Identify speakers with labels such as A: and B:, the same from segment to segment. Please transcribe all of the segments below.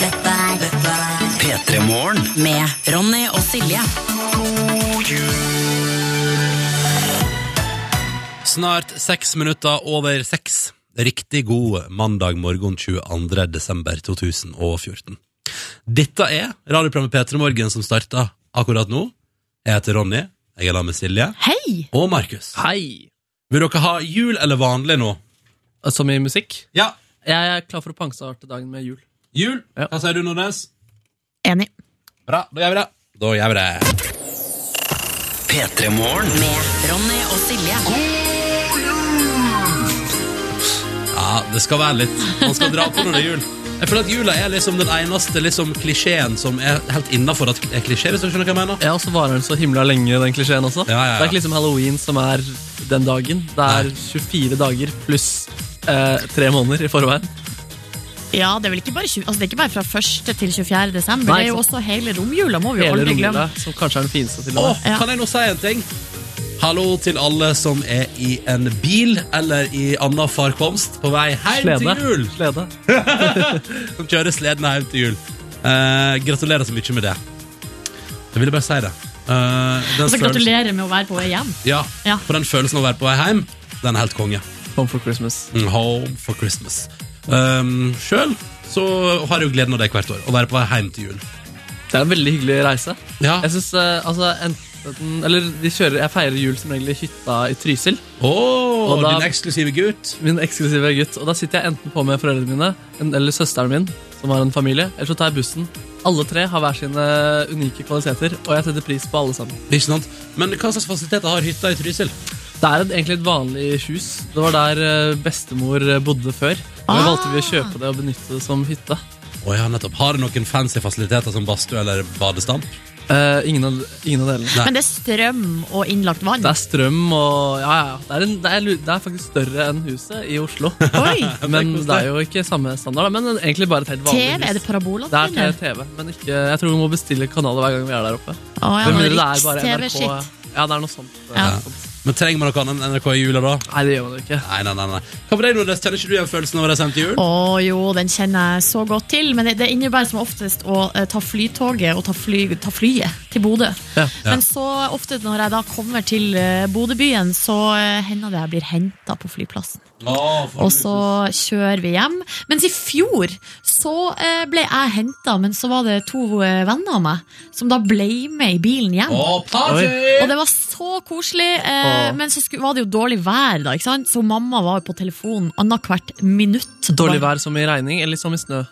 A: Dette er
B: P3 Morgen.
A: med Ronny og Silje.
C: Snart seks minutter over seks. Riktig god mandag morgen 22. desember 2014. Dette er radioprogrammet P3 Morgen som starter akkurat nå. Jeg heter Ronny. Jeg er sammen med Silje.
D: Hei!
C: Og Markus.
E: Hei!
C: Vil dere ha jul eller vanlig nå?
E: Som i musikk?
C: Ja.
E: Jeg er klar for å pangstarte dagen med jul.
C: Jul.
E: Ja.
C: Hva sier du, Nordnes?
D: Enig.
C: Bra, da gjør vi det. Da gjør vi det.
B: P3 Morgen.
A: Med Ronny og Silje.
C: Ja, det skal være litt. Man skal dra på når det er jul. Jeg føler at jula er liksom den eneste liksom, klisjeen som er helt innafor at er klisjé, hvis du skjønner hva jeg mener.
E: Ja, og så varer den så himla lenge, den klisjeen også.
C: Ja, ja, ja.
E: Det er ikke liksom halloween som er den dagen. Det er 24 dager pluss eh, tre måneder i forveien.
D: Ja, det er vel ikke bare, tjue- altså, det er ikke bare fra 1. til 24. desember.
E: Nei,
D: det er jo
E: ikke
D: også hele romjula, må vi jo
E: Hele
D: aldri glemme.
E: romjula, som kanskje er den fineste til
C: Å,
E: og med.
D: Ja.
C: kan jeg nå si en ting? Hallo til alle som er i en bil eller i annen farkomst på vei hjem
E: Slede.
C: til jul.
E: Slede.
C: Som kjører sleden hjem til jul. Eh, gratulerer så mye med det. Jeg ville bare si det. Eh, den
D: Og så
C: følelsen-
D: Altså, gratulerer med å være på vei hjem.
C: Ja,
D: Ja.
C: For den følelsen av å være på vei hjem, den er helt konge.
E: Home for Christmas.
C: Mm, Home for Christmas. Um, Sjøl så har jeg jo gleden av det hvert år. Å være på vei hjem til jul.
E: Det er en veldig hyggelig reise.
C: Ja.
E: Jeg synes, eh, altså, enten, eller de kjører, Jeg feirer jul som regel i hytta i Trysil.
C: Å,
E: Og da-
C: din eksklusive gutt.
E: Min eksklusive gutt. Og da sitter jeg enten på med foreldrene mine en- eller søsteren min, som har en familie, eller så tar jeg bussen. Alle tre har hver sine eh, unike kvaliteter, og jeg setter pris på alle sammen.
C: Ikke sant? Men hva slags fasiliteter har hytta i Trysil?
E: Det er et, egentlig et vanlig hus. Det var der eh, bestemor eh, bodde før. Og da
D: Ah.
E: valgte vi å kjøpe det og benytte det som hytte.
C: Å ja, nettopp. Har det noen fancy fasiliteter som badstue eller badestamp?
E: Eh, ingen, av, ingen av delene.
C: Nei.
D: Men det er strøm og innlagt vann.
E: Det er strøm og Ja, ja. Det er, en, det er, lu- det er faktisk større enn huset i Oslo.
D: Oi!
E: Men det er jo ikke samme standard, da, men egentlig bare et helt vanlig
D: TV,
E: hus.
D: er det parabola?
E: Det er TV, men ikke, jeg tror vi må bestille kanaler hver gang vi er der oppe.
D: Å, ja,
E: Hvem lurer
D: noe
E: det er bare
D: Riks-TV-shit.
E: NRK? Ja, det er noe sånt. eh,
D: Ja.
E: sånt.
C: Men trenger man noe annet enn NRK i jula, da?
E: Nei, det gjør man jo ikke.
C: Nei, nei, nei, nei. Hva med deg, Nordnes? Kjenner ikke du igjen følelsen av å reise hjem til jul?
D: Å jo, den kjenner jeg så godt til. Men det, det innebærer som oftest å eh, ta flytoget og ta, fly, ta flyet til Bodø.
E: Ja.
D: Men så ofte når jeg da kommer til eh, Bodøbyen, så eh, hender det jeg blir henta på flyplassen.
C: Å, for
D: Og så kjører vi hjem. Mens i fjor så eh, ble jeg henta, men så var det to eh, venner av meg som da ble med i bilen hjem.
C: Å, party!
D: Og det var så koselig, eh,
E: Åh.
D: men så sku, var det jo dårlig vær, da. ikke sant? Så mamma var jo på telefonen annethvert minutt.
E: Dårlig vær som i regning, eller som i snø.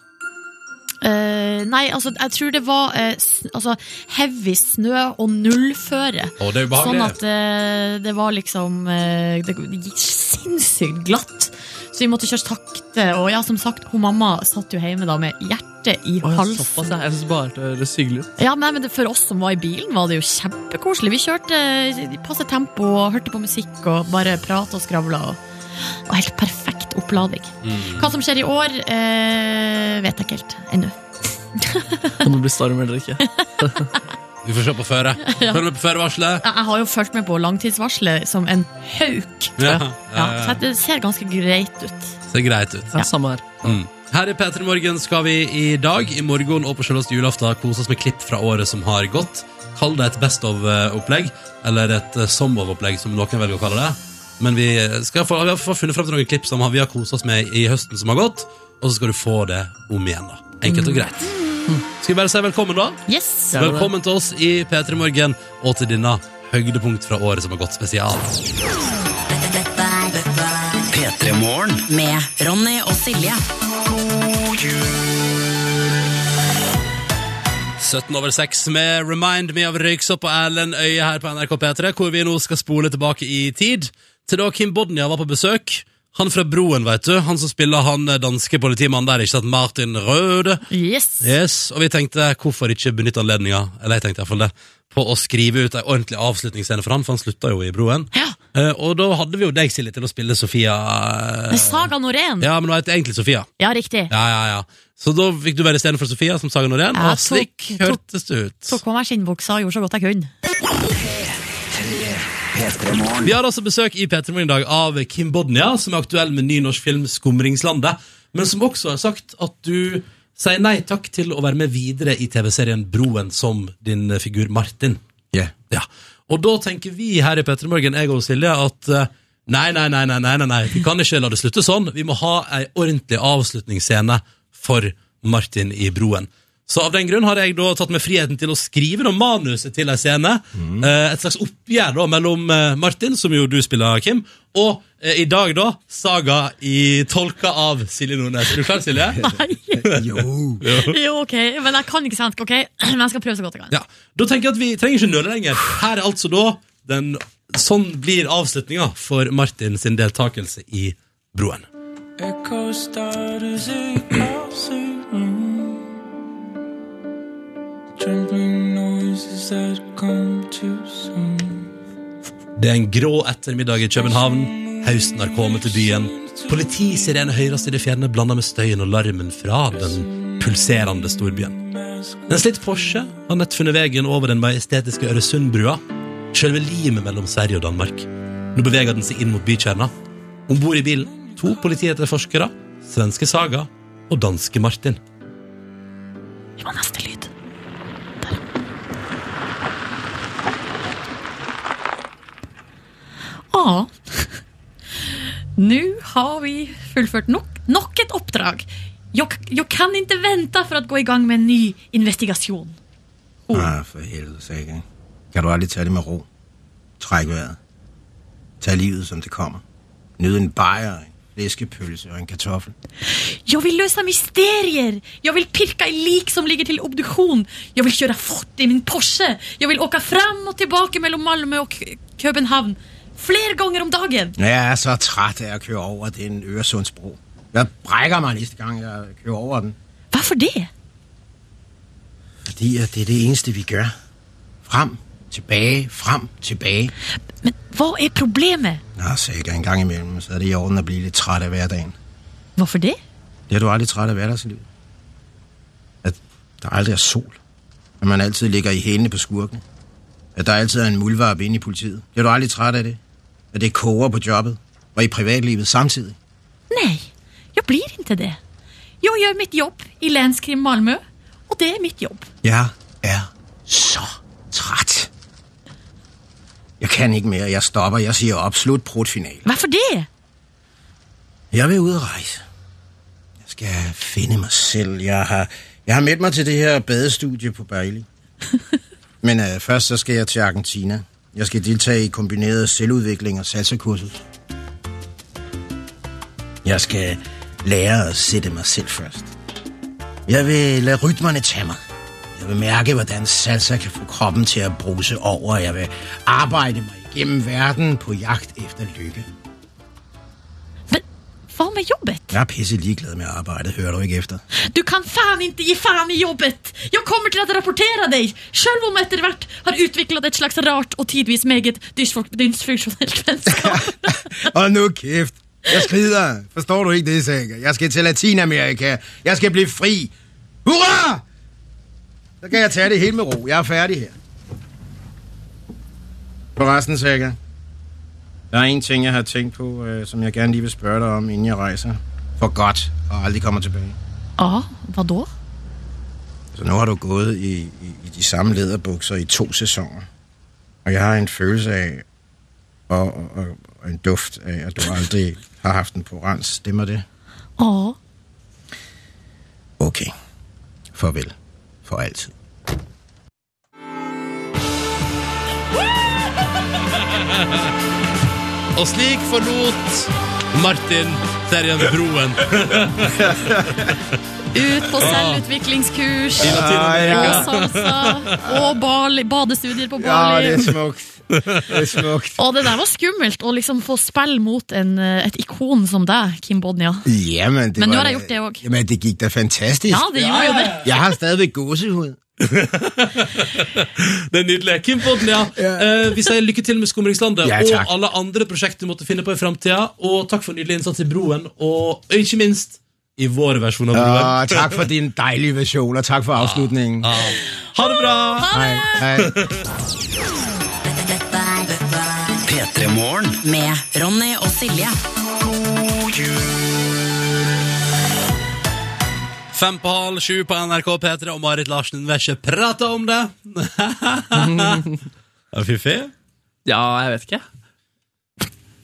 D: Eh, nei, altså, jeg tror det var eh, s- altså, heavy snø og nullføre.
C: Å, det er
D: Sånn
C: ubehagelig.
D: at eh, det var liksom eh, Det gikk sinnssykt glatt. Så vi måtte kjøre sakte. Og ja, som sagt, hun mamma satt jo hjemme da med hjertet i
E: Åh, såpass,
D: halsen.
E: jeg. jeg synes bare det høres hyggelig ut.
D: Ja, nei, men det, For oss som var i bilen, var det jo kjempekoselig. Vi kjørte eh, i passe tempo og hørte på musikk og bare prata og skravla. Og, og helt perfekt opplading.
C: Mm.
D: Hva som skjer i år, eh, vet jeg ikke helt ennå.
E: Om det blir storm eller ikke.
C: Vi får se på føre. Følg med på førevarselet.
D: Jeg jeg har jo fulgt med på langtidsvarselet som en hauk.
C: Ja.
D: Ja,
C: ja,
D: så det ser ganske greit ut.
C: ja. Ser greit ut.
E: Ja, samme her.
C: Mm. Her i P3 Morgen skal vi i dag, i morgen og på selveste julaften kose oss med klipp fra året som har gått. Kall det et best of-opplegg, eller et eh, some of-opplegg, som noen velger å kalle det. Men vi skal få, vi har fått funnet fram til noen klipp som vi har kosa oss med i høsten som har gått, og så skal du få det om igjen, da. Enkelt og greit. Skal vi bare si velkommen, da?
D: Yes!
E: Ja. det.
C: Velkommen til oss i P3 Morgen, og til denne høydepunkt fra året som har gått spesial.
A: Dette er
B: P3 Morgen.
A: med Ronny og Silje.
C: 17 over 6 med Remind Me av Røyksopp og Erlend Øye her på NRK P3, hvor vi nå skal spole tilbake i tid til da Kim Bodnia var på besøk. Han fra Broen, vet du. Han som spiller han danske politimannen der, ikke sant? Martin Røde.
D: Yes.
C: Yes, og vi tenkte hvorfor ikke benytte anledninga, eller jeg tenkte i hvert fall det, på å skrive ut ei ordentlig avslutningsscene for han, for han slutta jo i Broen.
D: Ja.
C: Eh, og da hadde vi jo deg, Silje, til å spille Sofia eh,
D: Saga Norén. Ja.
C: Ja, men hun heter egentlig Sofia.
D: riktig.
C: Ja, ja, ja. Så da fikk du være istedenfor Sofia som Saga Norén,
D: Ja,
C: og slik
D: tok- tok-
C: hørtes det ut.
D: Tok på meg skinnbuksa og gjorde så godt jeg kunne.
B: P3 Morgen.
C: Vi har altså besøk i Petremorgen i dag av Kim Bodnia, som er aktuell med ny norsk film 'Skumringslandet'. men som også har sagt at du sier nei takk til å være med videre i TV-serien Broen som din eh, figur Martin.
B: Yeah.
C: Ja. Og da tenker vi her i Petter Morgen, jeg og Silje, at eh, nei, nei, nei, nei, nei, nei, nei, vi kan ikke la det slutte sånn. Vi må ha ei ordentlig avslutningsscene for Martin i Broen. Så av den grunn har jeg da tatt meg friheten til å skrive da manuset til ei scene. eh, Et slags oppgjør da mellom eh, Martin, som jo du spiller, Kim, og eh, i dag, da, Saga i tolka av Silje Nordnes. Er du klar, Silje?
D: Jo, ok, men jeg kan ikke svensk, ok? Men jeg skal prøve så godt jeg kan.
C: Ja, da tenker jeg at vi trenger ikke nøle lenger. Her er altså da den Sånn blir avslutninga for Martin sin deltakelse i Broen. Det er en grå ettermiddag i København. Høsten har kommet til byen. Politisirene høres i det fjerne, blanda med støyen og larmen fra den pulserende storbyen. En slitt Porsche har nett funnet veien over den majestetiske Øresundbrua, selve limet mellom Sverige og Danmark. Nå beveger den seg inn mot bykjerna. Om bord i bilen to politietterforskere, svenske Saga og danske Martin.
D: Vi må ha neste lyd. Der. Ah. Nå har vi fullført nok, nok et oppdrag. Jeg, jeg kan ikke vente for å gå i gang med en ny investigation.
F: Ah, for helvede, Saga. Kan du aldrig tage det med ro? Træk vejret. Tag livet, som det kommer. Nyd en bajer, en flæskepølse og en kartoffel.
D: Jeg vil løse mysterier! Jeg vil pirke i lik som ligger til obduksjon! Jeg vil kjøre fort i min Porsche! Jeg vil åke fram og tilbake mellom Malmö og K- København! Flere ganger om dagen!
F: Jeg er så træt af at køre over den Øresundsbro. Jeg brækker mig næste gang, jeg kører over den.
D: Hvorfor det?
F: Fordi at det er det eneste, vi gør. Frem, tilbage, frem, tilbage.
D: Men hva er problemet?
F: Nå, Saga, en gang imellem, så er det i orden at blive lidt træt af hverdagen.
D: Hvorfor det?
F: Bliver du aldrig træt af hverdagslivet? At der aldrig er sol. At man altid ligger i hælene på skurken. At der altid er en muldvarp inde i politiet. Bliver du aldrig træt af det? At det koger på jobbet og i privatlivet samtidig.
D: Nei, jeg blir ikke det. Jeg gjør mitt jobb i Länskrim Malmö, og det er mitt jobb.
F: Jeg er så træt. Jeg kan ikke mere. Jeg stopper. Jeg siger op. Slut brudfinal.
D: Hvorfor det?
F: Jeg vil ud og rejse. Jeg skal finde mig selv. Jeg har, jeg har meldt mig til det her badestudie på Bali. Men øh, først så skal jeg til Argentina. Jeg skal deltage i kombineret selvudvikling og salsakursus. Jeg skal lære at sætte mig selv først. Jeg vil lade rytmerne tage mig. Jeg vil mærke, hvordan salsa kan få kroppen til at bruse over. Jeg vil arbejde mig igennem verden på jagt efter lykke.
D: Men hva med jobbet?
F: Jeg er pisse ligeglad med arbejdet, hører du ikke efter?
D: Du kan faen ikke gi faen i jobbet! Jeg kommer til å rapportere deg, selv om jeg etter hvert har utviklet et slags rart og tidvis meget dysfunk- dysfunksjonelt vennskap.
F: Og nu kæft. Jeg skrider. Forstår du ikke det, Saga? Jeg skal til Latinamerika. Jeg skal blive fri. Hurra! Så kan jeg tage det helt med ro. Jeg er færdig her. Forresten, Saga. Der er en ting, jeg har tænkt på, øh, som jeg gerne lige vil spørge dig om, inden jeg rejser. For godt, og aldrig kommer tilbage.
D: Ja, hva da?
F: Så nu har du gået i, i, i de samme læderbukser i to sæsoner. Og jeg har en følelse af, og, og, og, og en duft af, at du aldrig har haft den på rens. Stemmer det?
D: Ja.
F: Okay. Farvel. For altid.
C: Og slik forlot Martin Terjen Broen
D: Ut på selvutviklingskurs.
C: i Latin-Amerika.
D: Og salsa. Og Bali, badestudier på Bali.
F: smukt. Det er smukt.
D: Og det der var skummelt å liksom få spille mot en, eh, et ikon som deg, Kim Bodnia.
F: Jamen, det
D: Men nu
F: var
D: har
F: da-
D: jeg gjort det også.
F: Jamen, det gik da fantastisk.
D: Ja, det gjorde jo det.
F: Jeg har stadigvæk gåsehud.
C: Det er nydelig. Kim Bodnia, eh, vi sier lykke til med Skumringslandet
F: Ja, takk.
C: og alle andre prosjekter du måtte finne på i framtida. Og takk for nydelig innsats i Broen, og ikke minst i vår versjon av Broen.
F: Og tak for din dejlige version, og tak for afslutningen.
C: Ha det bra!
F: Hej, hej.
A: Dette er
B: P3 Morgen.
A: med Ronny og Silje.
B: God jul.
C: Fem på halv sju på NRK P3, og Marit Larsen vil ikke prate om det. Ja, Fiffig.
E: Ja, jeg vet ikke.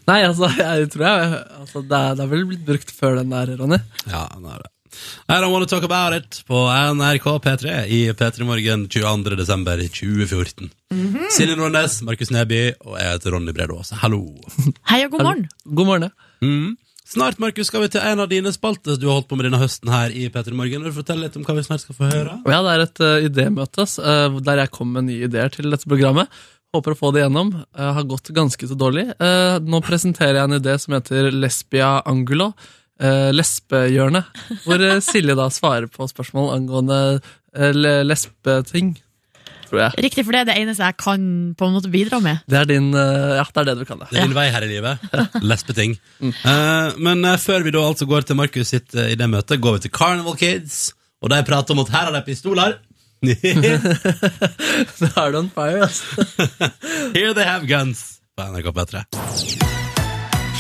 E: Nei, altså, jeg tror jeg altså, det, er, det er vel blitt brukt før den der, Ronny.
C: Ja, han er det. I don't wanna talk about it på NRK P3 i P3 Morgen 22. desember 2014. Silje Nordnes, Markus Neby og jeg heter Ronny Brede Aase. Hallo.
D: Hei og god morgen.
E: God morgen. ja.
C: Mm. Snart, Markus, skal vi til en av dine spalter du har holdt på med denne høsten her i P3 Morgen. Vil du fortelle litt om hva vi snart skal få høre?
E: Ja, det er et uh, idémøte s- eh, der jeg kom med nye ideer til dette programmet. Håper å få det gjennom. Eh, har gått ganske så dårlig. Eh, nå presenterer jeg en idé som heter Lesbia Angulo. Uh, lesbehjørnet. Hvor eh, Silje da svarer på spørsmål angående eh, le- lesbeting, tror jeg.
D: Riktig, for det er det eneste jeg kan på en måte bidra med.
E: Det er din eh, Ja, det er det du kan, det.
C: Det er din vei her i livet. Lesbeting. Eh, men eh, før vi da altså går til Markus sitt eh, i det møtet, går vi til Carnival Kids, og de prater om at her har de pistoler. Here
E: Det er du on fire, altså.
C: they have guns. På NRK P3.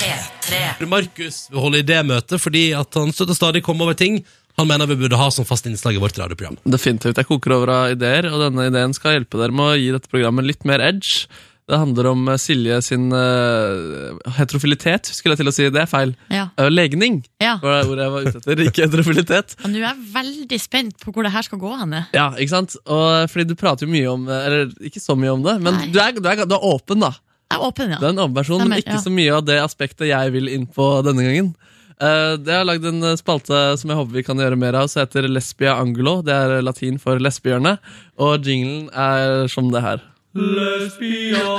A: P3.
C: Markus vil holde idémøte fordi at han støtter stadig komme over ting han mener vi burde ha som fast innslag i vårt radioprogram.
E: Definitivt. Jeg koker over av ideer, og denne ideen skal hjelpe dere med å gi dette programmet litt mer edge. Det handler om eh, Silje sin eh, heterofilitet, skulle jeg til å si. Det er feil.
D: Ja.
E: Eh, legning
D: Ja.
E: var det ordet jeg var ute etter, ikke heterofilitet.
D: Og nå er jeg veldig spent på hvor det her skal gå henne.
E: Ja, ikke sant? Og, fordi du prater jo mye om eh, Eller ikke så mye om det, men
D: Nei.
E: du er, du, er, du er åpen, da.
D: Jeg er åpen,
E: Du
D: ja.
E: er en åpen person,
D: Stemmer,
E: men ikke
D: ja.
E: så mye av det aspektet jeg vil inn på denne gangen. Eh, jeg har lagd en eh, spalte som jeg håper vi kan gjøre mer av, som heter Lesbia Angulo. Det er eh, latin for lesbehjørne. Og jinglen er som det her. Lesbia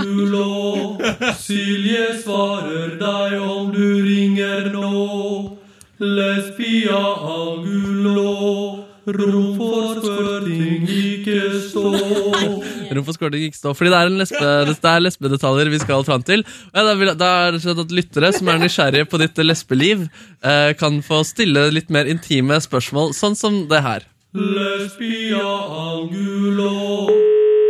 E: Angulo, Silje svarer deg om du ringer nå. Lesbia Angulo, rom for skvørting ikke stå. rom for skvørting ikke stå. Fordi det er, en lesbe, det er lesbedetaljer vi skal fram til. Og ja, da, vil, da er det sånn at lyttere som er nysgjerrige på ditt lesbeliv, eh, kan få stille litt mer intime spørsmål, sånn som det her. Lesbia Angulo.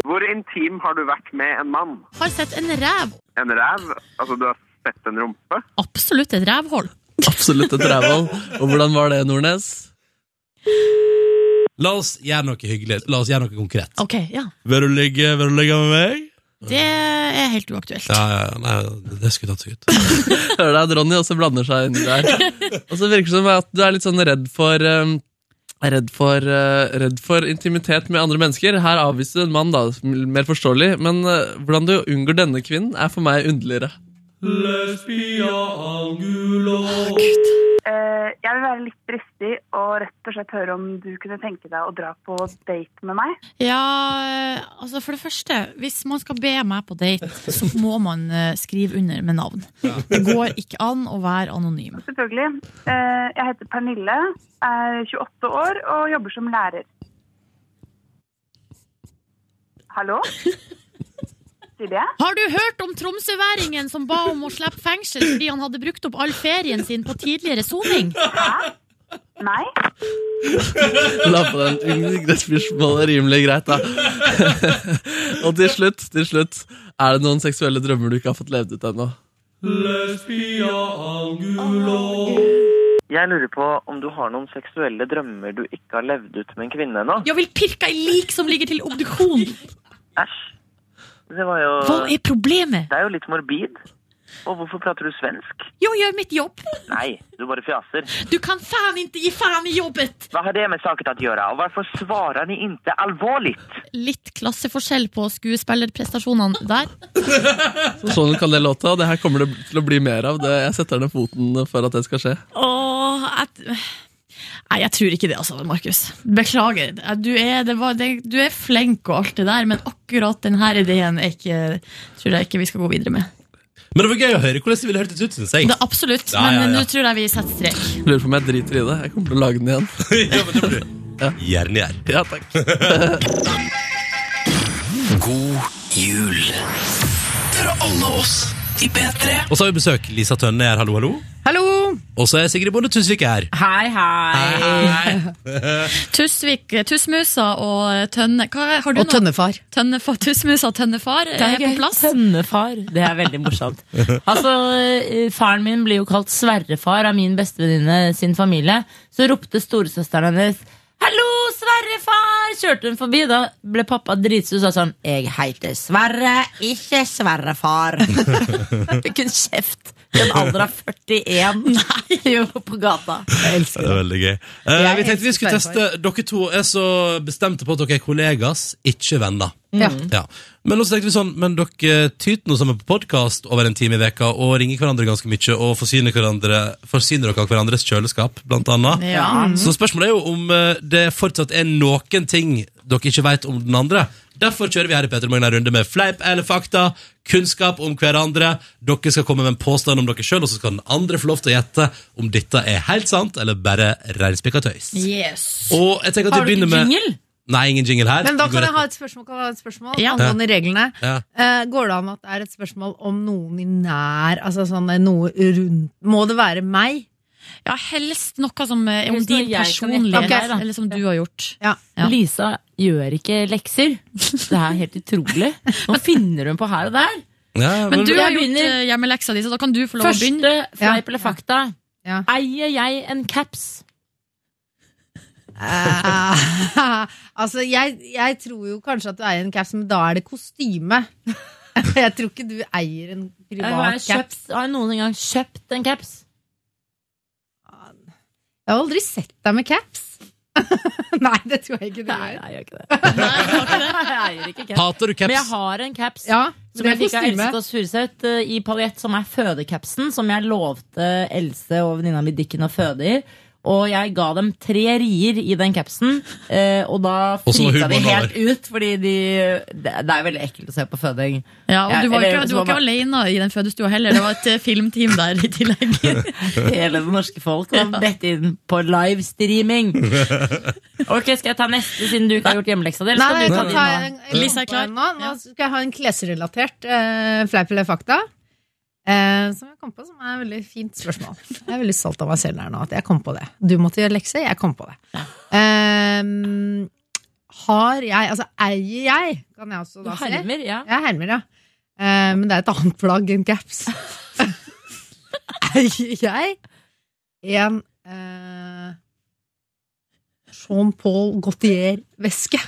G: Hvor intim har du vært med en mann?
D: Har sett en ræv.
G: En ræv? Altså, du har sett en rumpe?
D: Absolutt et rævhold.
E: Absolutt et rævhold. Og hvordan var det, Nordnes?
C: La oss gjøre noe hyggelig. La oss gjøre noe konkret.
D: Ok, ja.
C: Vil du ligge, vil du ligge med meg?
D: Det er helt uaktuelt.
C: Ja, ja, nei, det skulle tatt seg ut.
E: Hører deg at Ronny også blander seg inn der. Og så virker det som at du er litt sånn redd for um, Redd for, eh, redd for intimitet med andre mennesker. Her avviser du en mann, da, som er mer forståelig, men eh, hvordan du unngår denne kvinnen, er for meg underligere.
H: Eh, jeg vil være litt dristig og rett og slett høre om du kunne tenke deg å dra på date med meg.
D: Ja, altså for det første, hvis man skal be meg på date, så må man eh, skrive under med navn. Det går ikke an å være anonym.
H: Selvfølgelig. Eh, jeg heter Pernille, er 28 år og jobber som lærer. Hallo? Silje?
D: Har du hørt om tromsøværingen som ba om å slippe fengsel fordi han hadde brukt opp all ferien sin på tidligere soning?
H: Nei?
E: La på den. Det spørsmålet er rimelig greit, da. Og til slutt, til slutt, er det noen seksuelle drømmer du ikke har fått levd ut ennå?
I: Jeg lurer på om du har noen seksuelle drømmer du ikke har levd ut med en kvinne ennå?
D: Jeg vil pirke ei lik som ligger til obduksjon!
I: Æsj. Det var jo
D: Hva er problemet?
I: Det er jo litt morbid. Og hvorfor prater du svensk?
D: Jo, gjør mitt jobb!
I: Nei, du bare fjaser.
D: Du kan faen ikke gi faen i jobbet!
I: Hva har det med saken å gjøre? Og hvorfor svarer ni ikke alvorlig?
D: Litt klasseforskjell på skuespillerprestasjonene der.
E: Sånn kan det låte, og det her kommer det til å bli mer av. Det, jeg setter ned foten for at det skal skje.
D: Åh, jeg... Nei, jeg tror ikke det, altså, Markus. Beklager. Du er, det var, det, du er flink og alt det der, men akkurat denne ideen er ikke, tror jeg ikke vi skal gå videre med.
C: Men det var gøy å høre hvordan det ville hørtes ut, synes jeg.
D: Det, absolutt,
C: Ja,
D: men
C: ja, ja.
D: nå tror jeg vi setter strek.
E: Lurer på om jeg driter i det. Jeg kommer til å lage den igjen.
C: ja, men det må du. Gjerne gjør.
E: Ja, takk.
B: God jul fra alle oss i P3.
C: Og så har vi besøk Lisa Tønne her, hallo, hallo.
D: Hallo!
C: Og så er Sigrid Bonde Tusvik her.
J: Hei, hei.
D: Tusvik, Tussmusa og eh, Tønne Hva, er- Har du
J: Og
D: noe?
J: tønnefar.
D: Tønnefa, Tussmusa og Tønnefar er på plass.
J: Tønnefar.
K: Det er veldig morsomt. Altså, eh, Faren min blir jo kalt Sverrefar av min bestevenninne eh, sin familie. Så ropte storesøsteren hennes 'Hallo, Sverrefar!' Kjørte hun forbi. Da ble pappa dritsur og sa sånn 'Jeg heter Sverre, ikke Sverrefar'. Fikk hun kjeft i en alder av 41 Nei. jo, på gata. Jeg elsker
C: Det er veldig gøy. Eh,
K: Jeg
C: vi tenkte vi
K: elsker
C: skulle teste Dere to er så bestemte på at dere er kollegas, ikke venner.
J: Ja.
C: Ja. Men også tenkte vi sånn Men dere tyter nå sammen på podkast over en time i veka og ringer hverandre ganske mye og forsyner, hverandre, forsyner dere av hverandres kjøleskap, blant annet.
J: Ja.
K: Mhm.
C: Så spørsmålet er jo om eh, det fortsatt er noen ting dere ikke vet om den andre. Derfor kjører vi her i Peter Magne en runde med fleip eller fakta, kunnskap om hverandre. Dere skal komme med en påstand om dere sjøl, og så skal den andre få lov til å gjette om dette er helt sant eller bare reinspikka tøys.
J: Yes.
C: Og jeg tenker at
K: Har
C: vi
K: du
C: begynner
K: ikke
C: med
K: jingle?
C: Nei, ingen jingle her.
J: Men da
C: Vi går
J: kan jeg
C: rett-
J: ha et spørsmål, kan jeg ha et spørsmål
D: Ja.
J: angående reglene.
C: ja.
J: Eh, går det an at det er et spørsmål om noen i nær Altså sånn eh, noe rundt Må det være meg?
D: Ja, helst noe som eh, er om
K: Helst noe
D: din
K: jeg kan
D: personlighet,
J: gjette meg, da.
D: eller som du har gjort. Ja.
K: Lisa gjør ikke lekser. Det er helt utrolig. Nå finner hun på her og der.
C: Ja,
D: Men du
K: Jeg
D: har gjort
K: begynner.
D: eh, hjemmeleksa di, så da kan du få lov å begynne.
K: Første
J: Ja.
K: fleip eller fakta.
J: Ja.
K: Eier jeg en caps?
J: Eh, altså, jeg, jeg tror jo kanskje at du eier en caps, men da er det kostyme. jeg tror ikke du eier en
K: Har jeg,
J: privat caps.
K: kjøpt, har jeg noen gang kjøpt en caps?
J: Jeg har aldri sett deg med caps. Nei, det tror jeg ikke du gjør.
K: jeg gjør ikke det. Nei, jeg, har ikke det. jeg eier ikke caps.
C: Hater du
K: Men jeg
C: caps?
K: har en caps
J: Ja, men
K: som
J: det
K: jeg
J: er
K: fikk av Else
J: kostyme.
K: Kåss Furuseth eh, i paljett, som er fødecapsen, som jeg lovte Else og venninna mi Dikken å føde i. Og jeg ga dem tre rier i den capsen, eh, og da
C: Og så var
K: frika de
C: humoren
K: helt ut. Fordi de, det det er veldig ekkelt å se på føding.
D: Ja, og
K: Ja,
D: du var
K: eller
D: ikke,
K: så
D: du var
K: var
D: ikke alene i den fødestua heller, det var et eh, filmteam der i tillegg.
K: Hele det norske folk var bedt inn på livestreaming. Ok, Skal jeg ta neste, siden du ikke har gjort hjemmeleksa di? eller
J: Nei,
K: skal du
J: jeg
K: ta
J: kan
K: din
J: ta
K: nå?
J: en, jeg
D: Lisa er
J: kom på en
D: klar.
J: Nå. nå
D: Ja.
J: skal jeg ha en klesrelatert eh, fleip eller fakta. eh, som jeg kom på, som er et veldig fint spørsmål. Jeg er veldig stolt av meg selv her nå, at jeg kom på det. Du måtte gjøre lekser, jeg kom på det. Ehm, har jeg, altså eier jeg, kan jeg også
K: Du
J: da si.
K: hermer, ja.
J: Jeg hermer, ja. Eh, men det er et annet plagg enn caps. eier jeg en eh, Jean-Paul Gaultier-veske?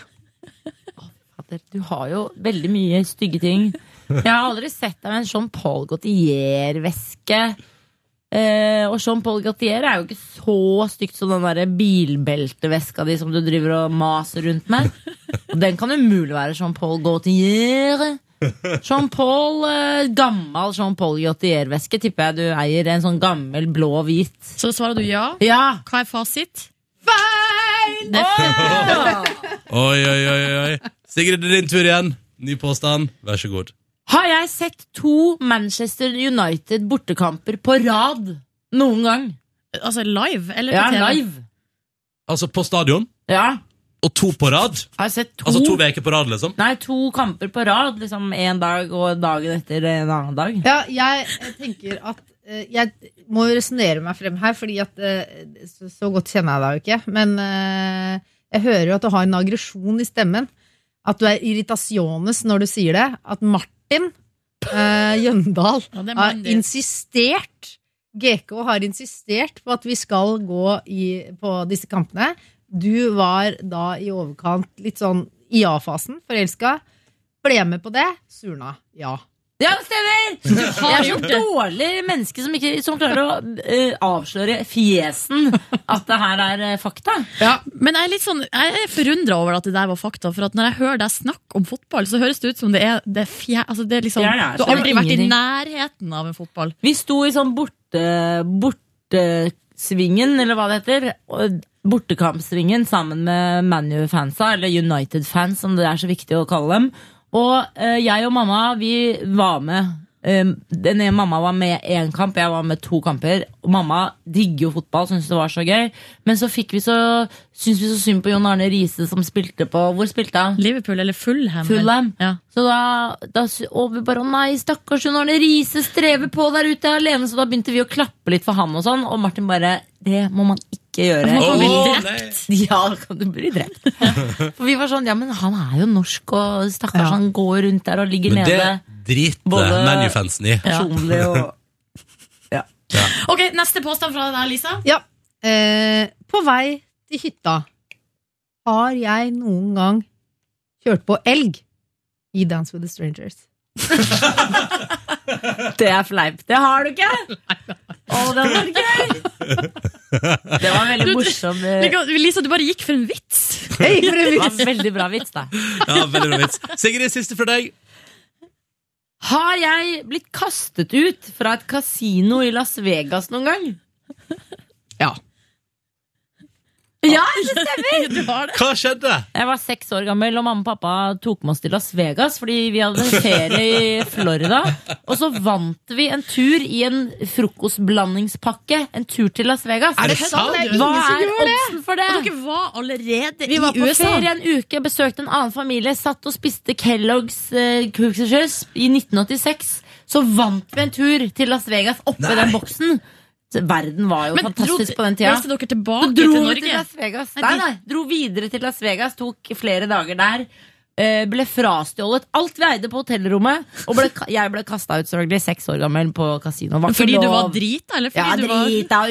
K: Fader, Du har jo veldig mye stygge ting. Jeg har aldri sett deg med en Jean Paul Gaultier-veske. Eh, og Jean Paul Gaultier er jo ikke så stygt som den der bilbelteveska di som du driver og maser rundt med. Og den kan umulig være Jean Paul Gaultier. Jean Paul, eh, Gammel Jean Paul Gaultier-veske tipper jeg du eier. En sånn gammel blå-hvit.
D: Så svarer du ja.
K: Ja!
D: Hva er fasit?
J: Feil!
D: Det er
C: Oi, oi, oi, oi. Sigrid, det er din tur igjen. Ny påstand. Vær så god.
K: Har jeg sett to Manchester United bortekamper på rad noen gang?
D: Altså live? Eller
K: Ja,
D: på TV?
K: live.
C: Altså på stadion,
K: Ja.
C: og to på rad.
K: Har jeg sett to,
C: Altså to uker på rad, liksom.
K: Nei, to kamper på rad. Liksom én dag og dagen etter en annen dag.
J: Ja, jeg eh, tenker at eh, Jeg må jo resonnere meg frem her, fordi at eh, så, så godt kjenner jeg deg jo ikke. Men eh, jeg hører jo at du har en aggresjon i stemmen. At du er irritasjones når du sier det. At Martin eh, Jøndal
D: Ja, det er
J: har
D: mannen din.
J: insistert GK har insistert på at vi skal gå i, på disse kampene. Du var da i overkant litt sånn i ja-fasen, forelska. Ble med på det. Surna. Ja.
K: Ja, det stemmer! Jeg er så dårlig menneske som, ikke, som klarer å eh, avsløre i fjesen at det her er eh, fakta.
D: Men jeg er litt sånn, jeg er forundra over at det der var fakta. For at når jeg hører deg snakke om fotball, så høres det ut som det er det er fjer... Altså det er liksom,
K: Ja, ja,
D: du har
K: skjønner
D: aldri vært i
K: ingenting.
D: nærheten av en fotball.
K: Vi sto i sånn borte, bortesvingen, eller hva det heter. og Bortekampsvingen sammen med ManU-fansa, eller United-fans, som det er så viktig å kalle dem. Og eh, jeg og mamma, vi var med Um, den ene mamma var med én kamp, jeg var med to kamper. Og mamma digger jo fotball, syntes det var så gøy. Men så fikk vi så syntes vi så synd på Jon Arne Riise som spilte på Hvor spilte han?
D: Liverpool eller Fullham.
K: Fullham. Så da, da sy- og vi bare å nei, stakkars Jon Arne Riise strever på der ute alene. Så da begynte vi å klappe litt for han og sånn, og Martin bare Det må man ikke gjøre.
D: Man kan bli Åh,
K: drept. Ja, kan du bli drept. For vi var sånn ja, men han er jo norsk, og stakkars han går rundt der og ligger
C: Men det
K: nede.
C: driter
K: Både-
C: ManU-fansen i.
K: Personlig og-
D: Ok, Neste påstand fra deg, Lisa.
J: Ja. Eh, på vei til hytta har jeg noen gang kjørt på elg i Dance with the Strangers.
K: det er fleipt. Det har du ikke! Å, det var gøy! Det var en veldig
D: Du-
K: morsom eh,
D: Lika- Lisa, du bare gikk for en vits.
J: Jeg gikk for en
K: Det
J: vits.
K: var en veldig bra vits, da.
C: Ja, veldig bra vits. Sigrid, siste fra deg.
K: Har jeg blitt kastet ut fra et kasino i Las Vegas noen gang?
J: Ja.
K: Ja, det stemmer!
D: Du har det.
C: Hva skjedde?
K: Jeg var seks år gammel, og mamma og pappa tok med oss til Las Vegas fordi vi hadde en ferie i Florida. Og så vant vi en tur i en frokostblandingspakke. En tur til Las Vegas.
J: Er det sant? Det er
K: Hva
J: ingen som
K: er
J: gjør det.
K: oddsen for det?
D: Og dere var allerede
K: Vi var
D: i
K: på
D: USA.
K: ferie en uke, besøkte en annen familie, satt og spiste Kellogg's eh, Cookies i 1986. Så vant vi en tur til Las Vegas oppe i den boksen. Så Verden var jo
D: Men dro,
K: fantastisk på den tida.
D: reiste dere tilbake
K: dro
D: til
K: vi
D: Norge?
K: til Las Vegas.
D: Nei,
K: Nei,
D: de-
K: nei, dro videre til Las Vegas, tok flere dager der. eh, Ble frastjålet alt vi eide på hotellrommet. Og ble, ka- jeg ble kasta ut, selvfølgelig, seks år gammel på kasino. Var ikke
D: Fordi du
K: lov.
D: var drita, eller fordi
K: Ja,
D: du var
K: drita og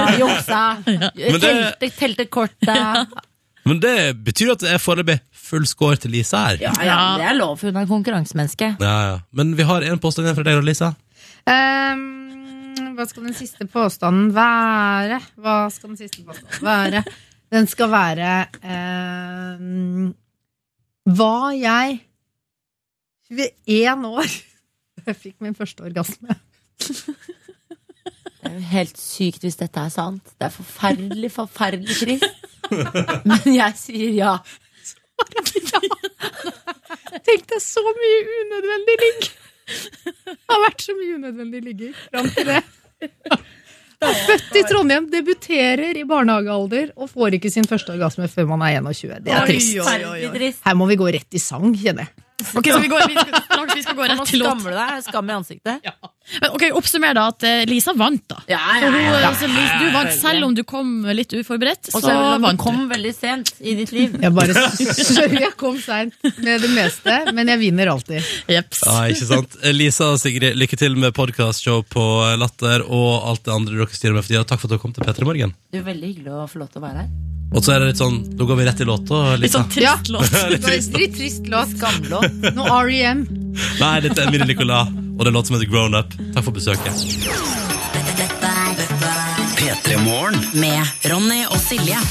K: og juksa.
C: Men det-
K: Telte, telte korta.
C: Men det betyr at det er foreløpig full score til Lisa her.
K: Ja, ja, men det er lov, for hun er konkurransemenneske.
C: Ja, ja. Men vi har en påstand igjen fra deg, Lisa.
J: Ehm, hva skal den siste påstanden være? Hva skal den siste påstanden være? Den skal være ehm, Var jeg 21 år da jeg fikk min første orgasme?
K: Det er jo helt sykt hvis dette er sant. Det er forferdelig, forferdelig trist. Men jeg sier ja.
J: Tenk deg så mye unødvendig ligg! Det har vært så mye unødvendig ligging fram til det. Født i Trondheim, debuterer i barnehagealder og får ikke sin første orgasme før man er 21. Det er trist.
K: Forferdelig trist.
J: Her må vi gå rett i sang, kjenner jeg.
D: Ok, så vi, går, vi, skal, straks, vi skal gå rett
K: Man
D: til låt.
K: skammer deg. Skam i ansiktet.
D: Men Ok, Oppsummer da at eh, Lisa vant, da.
K: Ja,
D: For hun,
K: ja, ja.
D: altså, Lisa, du vant selv om du kom litt uforberedt. Så
K: Og så
D: vant du.
K: kom veldig sent i ditt liv.
J: Jeg bare sorry, jeg kom seint med det meste, men jeg vinner alltid.
D: Jeps.
C: Ja, ikke sant? Lisa og Sigrid, lykke til med podcastshow på Latter og alt det andre dere styrer med for tida. Takk for at dere kom til P3 Morgen.
K: Det er veldig hyggelig å få lov til å være her.
C: Og så er det litt sånn, nå går vi rett i låta,
D: Litt
C: Lisa.
D: sånn trist låt.
J: Det var en Litt trist låt.
K: Skamlåt.
J: Noe REM.
C: Nei, dette er Emilie Nicolas, og det er en låt som heter Grown Up. Takk for besøket.
B: P3 Morgen.
A: Med Ronny og Silje.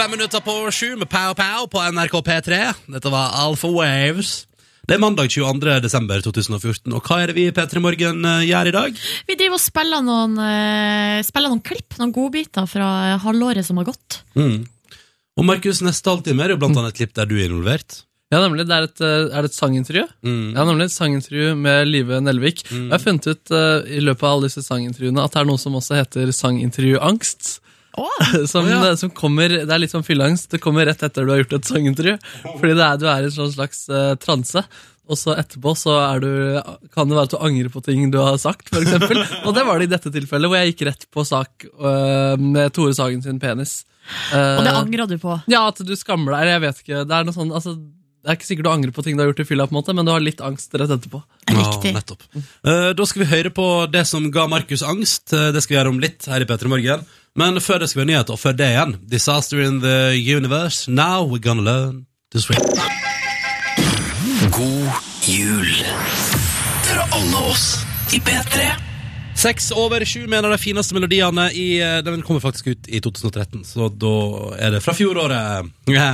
C: Fem minutter på sju med Pow Pow på NRK P3. Dette var Alpha Waves. Det er mandag 22. desember 2014, og hva er det vi i P3 Morgen eh, gjør i dag?
D: Vi driver og spiller noen, eh, spiller noen klipp, noen godbiter fra eh, halvåret som har gått.
C: Og Markus, neste halvtime er jo blant annet et klipp der du er involvert.
E: Ja, nemlig. Det er et, eh, er det et sangintervju.
C: Mm.
E: Ja, nemlig et sangintervju med Live Nelvik. Og Jeg har funnet ut eh, i løpet av alle disse sangintervjuene at det er noe som også heter sangintervjuangst. Som, eh,
C: Å, ja.
E: som kommer, det er litt sånn fylleangst. Det kommer rett etter du har gjort et sangintervju.
C: Oh.
E: Fordi det er, du er i en sånn slags eh, transe. Og så etterpå så er du, kan det være at du angrer på ting du har sagt. For eksempel. og det var det i dette tilfellet, hvor jeg gikk rett på sak eh, med Tore Sagen sin penis.
D: Og det
E: Eh,
D: angrer du på.
E: ja, at du skammer deg. Jeg vet ikke. Det er noe sånn, altså, det er ikke sikkert du angrer på ting du har gjort i fylla, på en måte, men du har litt angst rett etterpå.
D: Riktig.
C: Ja, nettopp. Eh, da skal vi høre på det som ga Markus angst. Eh, det skal vi gjøre om litt her i P3 Morgen. Men før det skal vi ha nyheter, og før det igjen. Disaster in the universe. Now we're gonna learn to swim.
B: God jul fra alle oss i P3.
C: Seks over sju med en av de fineste melodiene i eh, Den kommer faktisk ut i 2013, så da er det fra fjoråret. Ja.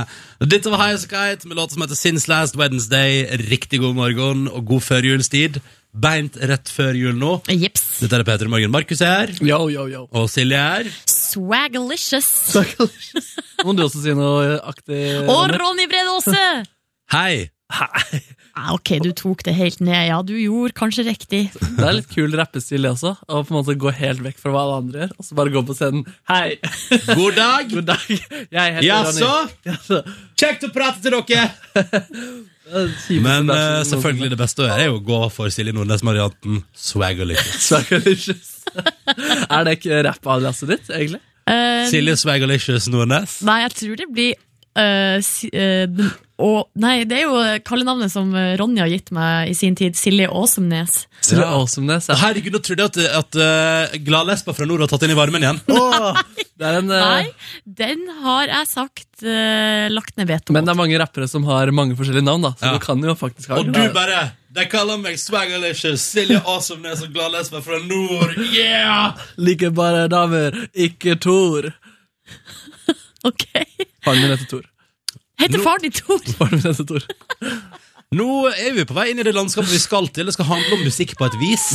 C: Dette var High Skite med låta som heter Since Last Wednesday. Riktig god morgen og god førjulstid. Beint rett før jul nå.
D: Jips.
C: Dette er P3 Morgen. Markus er her,
E: Yo, yo, yo.
C: og Silje er her.
D: Swagalicious.
E: Må du også si noe aktig?
D: Og
E: Ronny?
D: Ronny Brede Aase!
C: Hei!
D: Ah, ok, du tok det helt ned. Ja, du gjorde kanskje riktig.
L: Det er litt kul rappestil det også. Å på en måte gå helt vekk fra hva alle andre gjør, og så bare gå på scenen. Hei!
C: God dag!
L: God dag. Jeg heter
C: Jaså?
L: Ronny. Jaså?
C: Kjekt å prate til dere! Men eh, selvfølgelig det beste å gjøre er jo å gå for Silje Nordnes-varianten Swagalicious.
L: Er det ikke rapp-aliaset ditt, egentlig?
D: Eh,
C: Silje Swagalicious Nordnes.
D: Nei, jeg tror det blir eh, si, eh, den, å, Nei, det er jo kallenavnet som eh, Ronny har gitt meg i sin tid. Silje Åsemnes.
L: Silje Åsemnes.
C: Ja. Herregud, nå trodde jeg at, at eh, Gladlespa fra nord har tatt inn i varmen igjen.
L: Det er en, eh,
D: Nei, den har jeg sagt eh, lagt ned veto.
L: men det er mange rappere som har mange forskjellige navn, da. Så
C: Ja.
L: du kan jo faktisk ha
C: Og du bare De kaller meg Swagalicious, Silje Awesomeness og Gladlespa fra nord. Yeah!
L: Liker bare damer, ikke Tor.
D: Ok.
L: Faren min heter Tor.
D: Heter
C: Nå-
D: faren din Tor?
L: Faren min heter Tor.
C: Nå er vi på vei inn i det landskapet vi skal til. Det skal handle om musikk på et vis.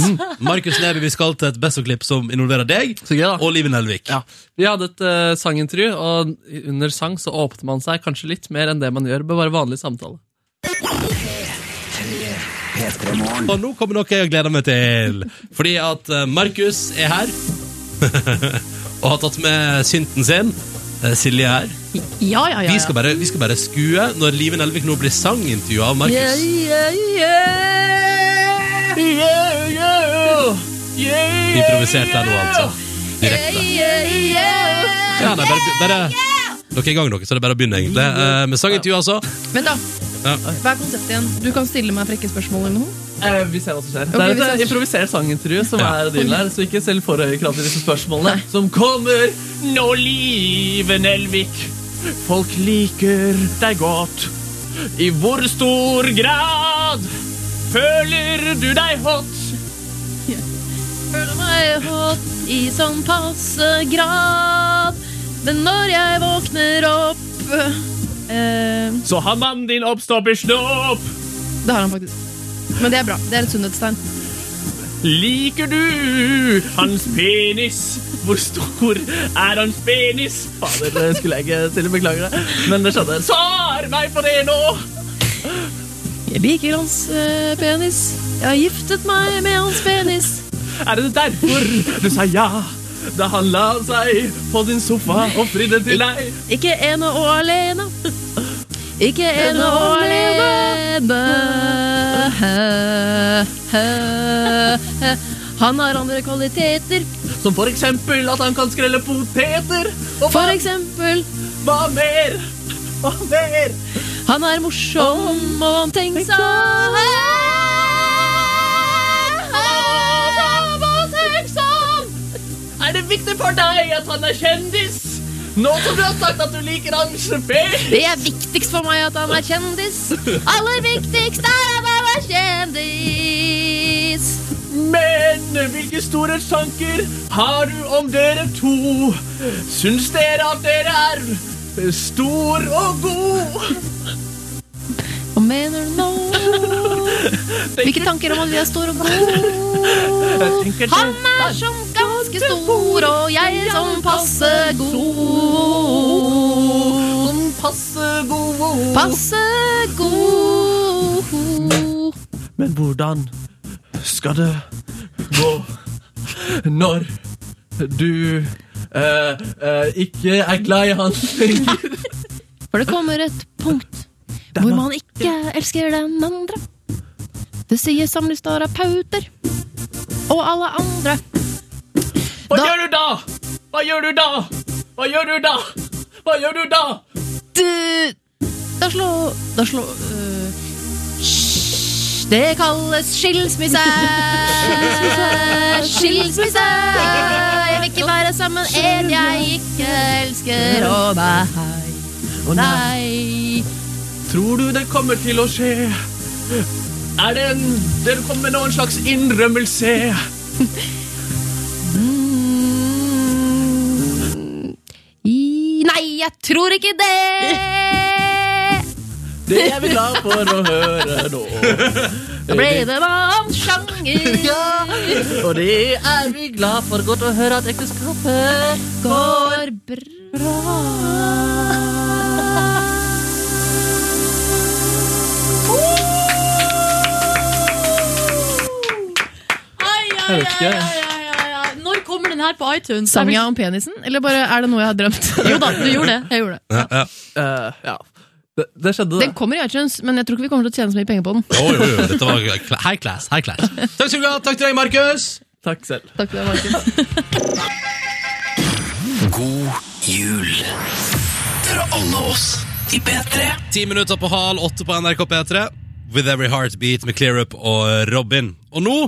C: Markus Neby, vi skal til et Besso-klipp som involverer deg
L: Så gøy, da.
C: og Liven Elvik.
L: Ja. Vi hadde et eh, sangintervju, og under sang så åpnet man seg kanskje litt mer enn det man gjør med bare vanlig samtale.
C: Og nå kommer noe jeg gleder meg til. Fordi at eh, Markus er her. og har tatt med synten sin. Eh, Silje er her.
D: Ja, ja, ja.
C: Vi, skal bare, vi skal bare skue når Liven Elvik nå blir sangintervjua av Markus. Improvisert der nå, altså. Direkte. Ja, nei, bare, bare Dere er i gang, dere, så det er bare å begynne, egentlig. Eh, med sangintervju, altså.
M: Vent, da.
C: Ja.
M: Hva er konseptet igjen? Du kan stille meg frekke spørsmål eller noe?
L: Eh, vi ser hva som skjer.
M: Ok, vi
L: det er
M: ser hva
L: et
M: som
L: eh, improvisert sangintervju som er dealen her, så ikke selv for høye krav til disse spørsmålene. Som kommer nå, Liven Elvik. Folk liker deg godt. I hvor stor grad føler du deg hot?
M: Føler meg hot i sånn passe grad, men når jeg våkner opp eh,
L: Så har mannen din oppstoppersnopp.
M: Det har han faktisk. Men det er bra. Det er et sunnhetstegn.
L: Liker du hans penis? Hvor stor er hans penis? Fader, det skulle jeg ikke til å beklage det. Men det skjedde. Svar meg på det nå!
M: Jeg liker hans eh, penis. Jeg har giftet meg med hans penis.
L: Er det derfor du sa ja da han la seg på din sofa og fridde til deg?
M: Ikke ene og alene. Ikke ene og alene. Han har andre kvaliteter.
L: Som for eksempel at han kan skrelle poteter. Og
M: For eksempel
L: hva mer? Hva mer?
M: Han er morsom og omtenksom.
L: Morsom og omtenksom. Er det viktig for deg at han er kjendis? Nå som du har sagt at du liker han sjefé.
M: Det er viktigst for meg at han er kjendis. Aller viktigst er at han er kjendis.
L: Men hvilke storhetstanker har du om dere to? Syns dere at dere er stor og god?
M: Hva mener du nå? Hvilke tanker om at vi er store og gode?
L: sånn.
M: Han er som ganske stor, og jeg er som passe god.
L: Sånn passe god.
M: Passe god.
L: Men hvordan skal det gå når du eh, eh, ikke er glad i han lenger?
M: For det kommer et punkt hvor man ikke elsker den andre. Det sier samlivsterapeuter og alle andre.
L: Hva gjør du da? Hva gjør du da? Hva gjør du da? Hva gjør du da?
M: Du, da slår Da slår øh, hysj. Det kalles skilsmisse. Skilsmisse. Jeg vil ikke være sammen en jeg ikke elsker. Å nei,
L: Å nei.
M: nei.
L: Tror du det kommer til å skje? Er det en Dere kommer med noen slags innrømmelse?
M: I- Nei, jeg tror ikke det.
L: Det er vi glad for å høre nå.
M: Da ble det en annen sjanger.
L: Og det er vi glad for godt å høre at ekteskapet
M: Går bra.
E: Jeg vet ikke.
D: Når kommer den her på iTunes?
L: Sang jeg om penisen, eller bare er det noe jeg har drømt?
D: Jo da, du gjorde det. Jeg gjorde det.
C: Ja, ja.
E: Eh, ja. Det, det skjedde, det.
L: Den kommer i iTunes, men jeg tror ikke vi kommer til å tjene så mye penger på den.
C: Jo, jo, jo. Dette var kla- high class. High class. Takk skal du ha. Takk til deg, Markus.
E: Takk selv.
L: Takk til deg, Markus.
B: God jul fra alle oss i P3.
C: Ti minutter på hal, åtte på NRK P3. With Every Heartbeat med Clearup og Robin. Og nå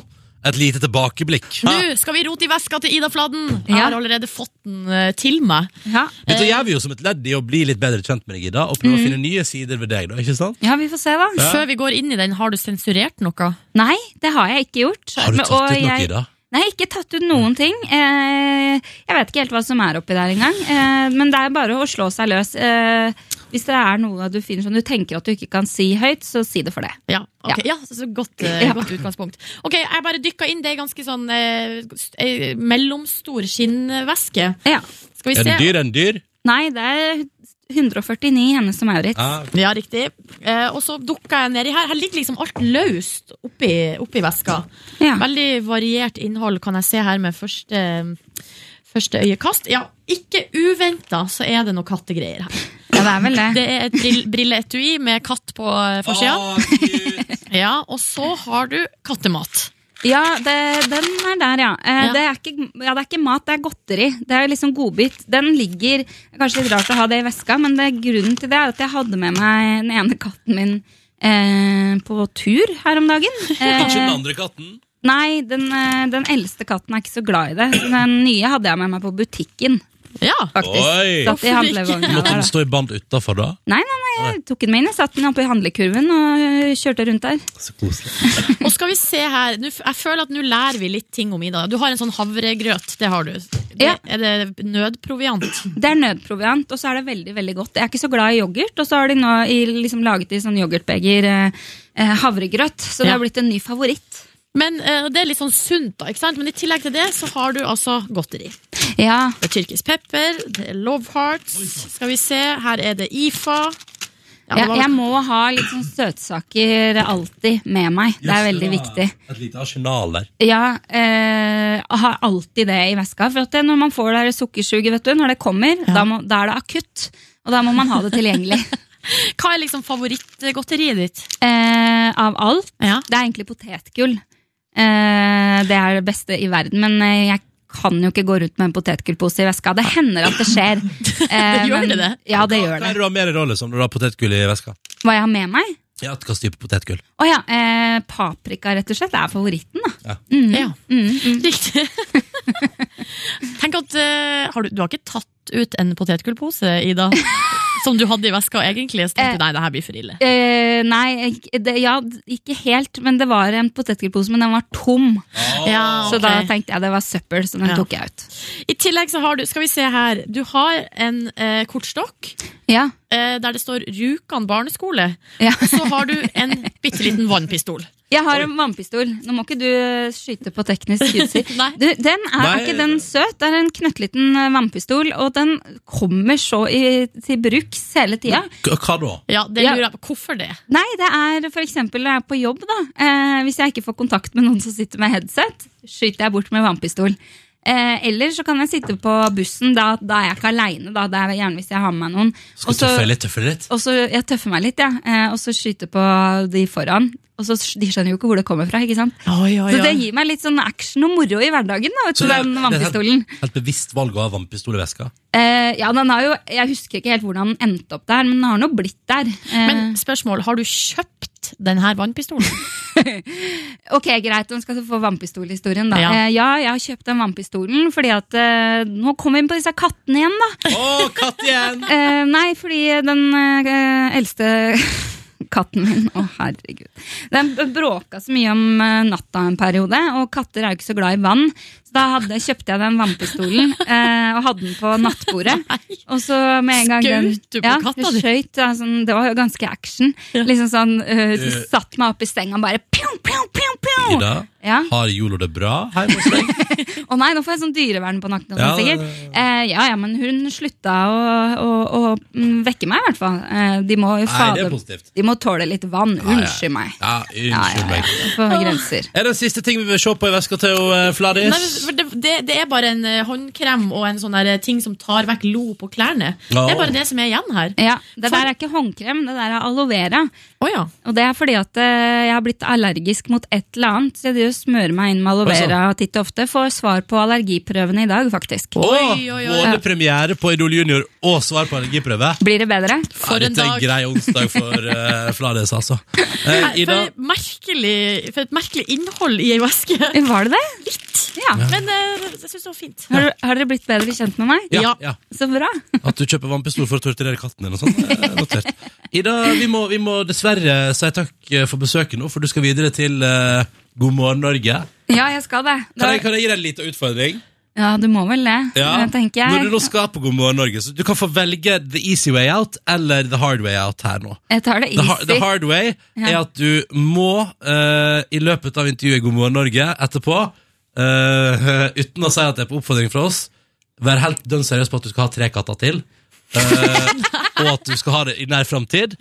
C: et lite tilbakeblikk.
D: Nå skal vi rote i veska til Ida Fladen. Jeg har allerede fått den eh, til meg.
C: Dette gjør vi jo som et ledd i å bli litt bedre kjent med deg, Ida, og prøve å finne nye sider ved deg. da, ikke sant?
N: Mm. Ja, vi får se, da.
C: Ja.
D: Før vi går inn i den, har du sensurert noe?
N: Nei, det har jeg ikke gjort.
C: Har du
N: Men-
C: tatt
N: og
C: ut noe,
N: jeg-
C: Ida?
N: Nei, ikke tatt ut noen ting. Eh, Jeg vet ikke helt hva som er oppi der engang. Eh, Men det er bare å slå seg løs. Eh, Hvis det er noe du finner som du tenker at du ikke kan si høyt, så si det for det.
D: Ja, ok. Ja, så- så godt, eh, godt utgangspunkt. Ok, Jeg bare dykka inn. Det er ganske sånn eh, st- eh, mellomstor skinnveske. Skal vi
C: Er
D: se.
C: den dyr? Er den dyr?
N: Nei, det er 149 i Hennes og Maurits.
C: Ja.
D: Ja, riktig. Eh, og så dukka jeg nedi her. Her ligger liksom alt løst oppi, oppi veska. Veldig variert innhold kan jeg se her med første, første øyekast. Ja, ikke uventa så er det noe kattegreier her.
N: Ja, Det er vel det.
D: Det er et brill- brilleetui med katt på eh, forsida. ja, og så har du kattemat.
N: Ja, det, den er der, ja. Eh, Det, er ikke, ja. Det er ikke mat, det er godteri. Det er liksom godbit. Den ligger Kanskje litt rart å ha det i veska, men det, grunnen til det er at jeg hadde med meg den ene katten min eh, på tur her om dagen.
C: Kanskje den
N: Eh,
C: andre katten?
N: Nei, den, eh, den eldste katten er ikke så glad i det. Så den nye hadde jeg med meg på butikken.
D: Ja,
N: faktisk.
C: Oi!
N: Satt i handlevogna
C: Måtte
N: der,
C: den
N: da.
C: stå i band utafor, da?
N: Nei, nei, nei, jeg tok den med inn. Jeg satte den oppi handlekurven og eh, kjørte rundt der.
D: Og skal vi se her nå, f- Jeg føler at nå lærer vi litt ting om Ida. Du har en sånn havregrøt. Det har du. Det, Er det nødproviant?
N: Det er nødproviant, og så er det veldig veldig godt. Jeg er ikke så glad i yoghurt, og så har de nå i, liksom, laget i sånn yoghurtbeger eh, eh, havregrøt. Så det
D: Ja.
N: har blitt en ny favoritt.
D: Men eh, Det er litt sånn sunt, da. ikke sant? Men i tillegg til det så har du altså godteri.
N: Ja.
D: Det er tyrkisk pepper, det er love hearts. Skal vi se, her er det IFA. Ja, det
N: jeg,
D: var-
N: jeg må ha litt sånn søtsaker alltid med meg. Det er veldig viktig.
C: Et lite arsenal der.
N: Ja, eh, har alltid det i veska. For at det, når man får det her sukkersuget, vet du, når det kommer, da, må, da er det akutt. Og da må man ha det tilgjengelig.
D: Hva er liksom favorittgodteriet ditt?
N: Eh, av alt?
D: Det
N: er egentlig potetgull. Eh, det er det beste i verden, men eh, jeg kan jo ikke gå rundt med en potetgullpose i veska. Det hender at det skjer. Eh,
C: Gjør det
N: men-
C: det?
N: Ja, det gjør
C: Hva er
N: det.
C: det du har med deg da, liksom, når du har potetgull i veska?
N: Hva jeg har med meg?
C: Ja, Hva slags type potetgull?
N: Å ja, eh, paprika rett og slett. Det er favoritten, da.
C: Ja.
N: Mm,
D: Ja.
N: mm, mm.
D: Riktig. Tenk at eh, har du, du har ikke tatt ut en potetgullpose, Ida? Som du hadde i veska egentlig? Så tenkte du nei, det her blir for ille.
N: Eh, nei, ikke- det, ja, ikke helt, men det var en potetgullpose, men den var tom.
D: Ja,
N: Så da
D: ok.
N: tenkte jeg det var søppel, så den
D: Ja.
N: tok jeg ut.
D: I tillegg så har du, skal vi se her, du har en eh, kortstokk. eh, der det står Rjukan barneskole. Og så har du en bitte liten vannpistol.
N: Jeg har en vannpistol. Nå må ikke du eh, skyte på teknisk utstyr. Du, den er, er
D: Nei.
N: ikke den søt? Det er en knøttliten eh, vannpistol, og den kommer så i, til bruks hele tida.
C: K- Hva da?
D: Ja, det
N: Ja.
D: lurer jeg på. Hvorfor det?
N: Nei, det er for eksempel når jeg er på jobb, da. Eh, hvis jeg ikke får kontakt med noen som sitter med headset, skyter jeg bort med vannpistol. Eh, eller så kan jeg sitte på bussen, da, da er jeg ikke aleine. Da. Det er gjerne hvis jeg har med meg noen.
C: Skal
N: Og så-
C: tøffe litt, tøffe litt?
N: og så, jeg tøffer meg litt, ja. eh, og så skyter på de foran. Og så, De skjønner jo ikke hvor det kommer fra. ikke sant?
D: oi,
N: Så det
C: oi.
N: gir meg litt sånn action og moro i hverdagen. da, vet
C: Så
N: du,
C: det er-
N: den
C: det er
N: vannpistolen.
C: Helt, helt bevisst valg å ha vannpistol i veska.
N: Eh, ja, den har jo, Jeg husker ikke helt hvordan den endte opp der, men den har nå blitt der. Eh,
D: Men spørsmål, har du kjøpt den her vannpistolen?
N: ok, greit, Hun skal få vannpistolhistorien, da.
D: Ja.
N: Ja. Eh, ja, jeg har kjøpt den vannpistolen fordi at eh, Nå kom vi inn på disse kattene igjen, da.
C: Å, katt igjen!
N: Eh, nei, fordi den eh, eldste katten min Å, herregud. Den b- bråka så mye om eh, natta en periode, og katter er jo ikke så glad i vann. Så da hadde, kjøpte jeg den vannpistolen eh, og hadde den på nattbordet. Og så med en gang den
D: Skjøt du på
N: ja,
D: katta
N: hun
D: di?
N: skjøt, ja, sånn, Det var jo ganske action. Liksom sånn, eh, så
D: Eh.
N: Satt meg opp i senga og bare pjong, pjong, pjong, pjong!
C: Ida.
N: Ja.
C: Har Jolo det bra hjemme hos deg?
N: Å nei, nå får jeg sånn dyrevern på nakken. og
C: Ja,
N: sånn sikkert. Eh, ja, ja, men hun slutta å, å, å mm, vekke meg, i hvert fall. Eh, de må jo
C: Nei, det er
N: fader-
C: positivt.
N: De må tåle litt vann.
C: Ja, ja.
N: Unnskyld meg.
C: Ja, unnskyld meg.
N: For grenser.
C: Er det en siste ting vi vil se på i veska til eh, Fladis?
D: Nei, men det, det, det er bare en eh, håndkrem og en sånn der, eh, ting som tar vekk lo på klærne.
C: Ja.
D: Det er bare det som er igjen her.
N: Ja, det der er ikke håndkrem, det der er aloe vera. Og det er fordi at eh, jeg har blitt allergisk mot et eller annet, så jeg driver og smører meg inn med aloe
C: Oi, sann.
N: vera titt og ofte. Får svar på allergiprøvene i dag, faktisk.
C: Åh, Både premiere på Idol Junior og svar på allergiprøve.
N: Blir det bedre?
C: Ja, dette er en grei onsdag for eh, Fladis, altså. Eh,
D: Nei,
C: Ida,
D: For, et merkelig, for et merkelig innhold i ei veske.
N: Var det det?
D: Litt.
N: Ja.
D: Men eh, jeg syns det var fint.
N: Har, du- har dere blitt bedre kjent med meg?
C: Ja, ja.
N: Så bra.
C: at du kjøper vannpistol for å torturere katten din og sånn. eh, Notert. Ida, vi må, vi må dessverre si takk eh, for besøket nå, for du skal videre til eh, God morgen, Norge.
N: Ja, jeg skal det. Da-
C: Kan jeg, kan jeg gi deg en liten utfordring?
N: Ja, du må vel det, eh,
C: Ja.
N: tenker
C: Når du nå
N: jeg.
C: skal på God morgen Norge, så du kan få velge the easy way out eller the hard way out her nå.
N: Jeg tar det
C: The, har- the
N: easy.
C: hard way er
N: Ja.
C: at du må, eh, i løpet av intervjuet i God morgen Norge etterpå, eh, uten å si at det er på oppfordring fra oss, være helt dønn seriøs på at du skal ha tre katter til. eh, og at du skal ha det i nær framtid.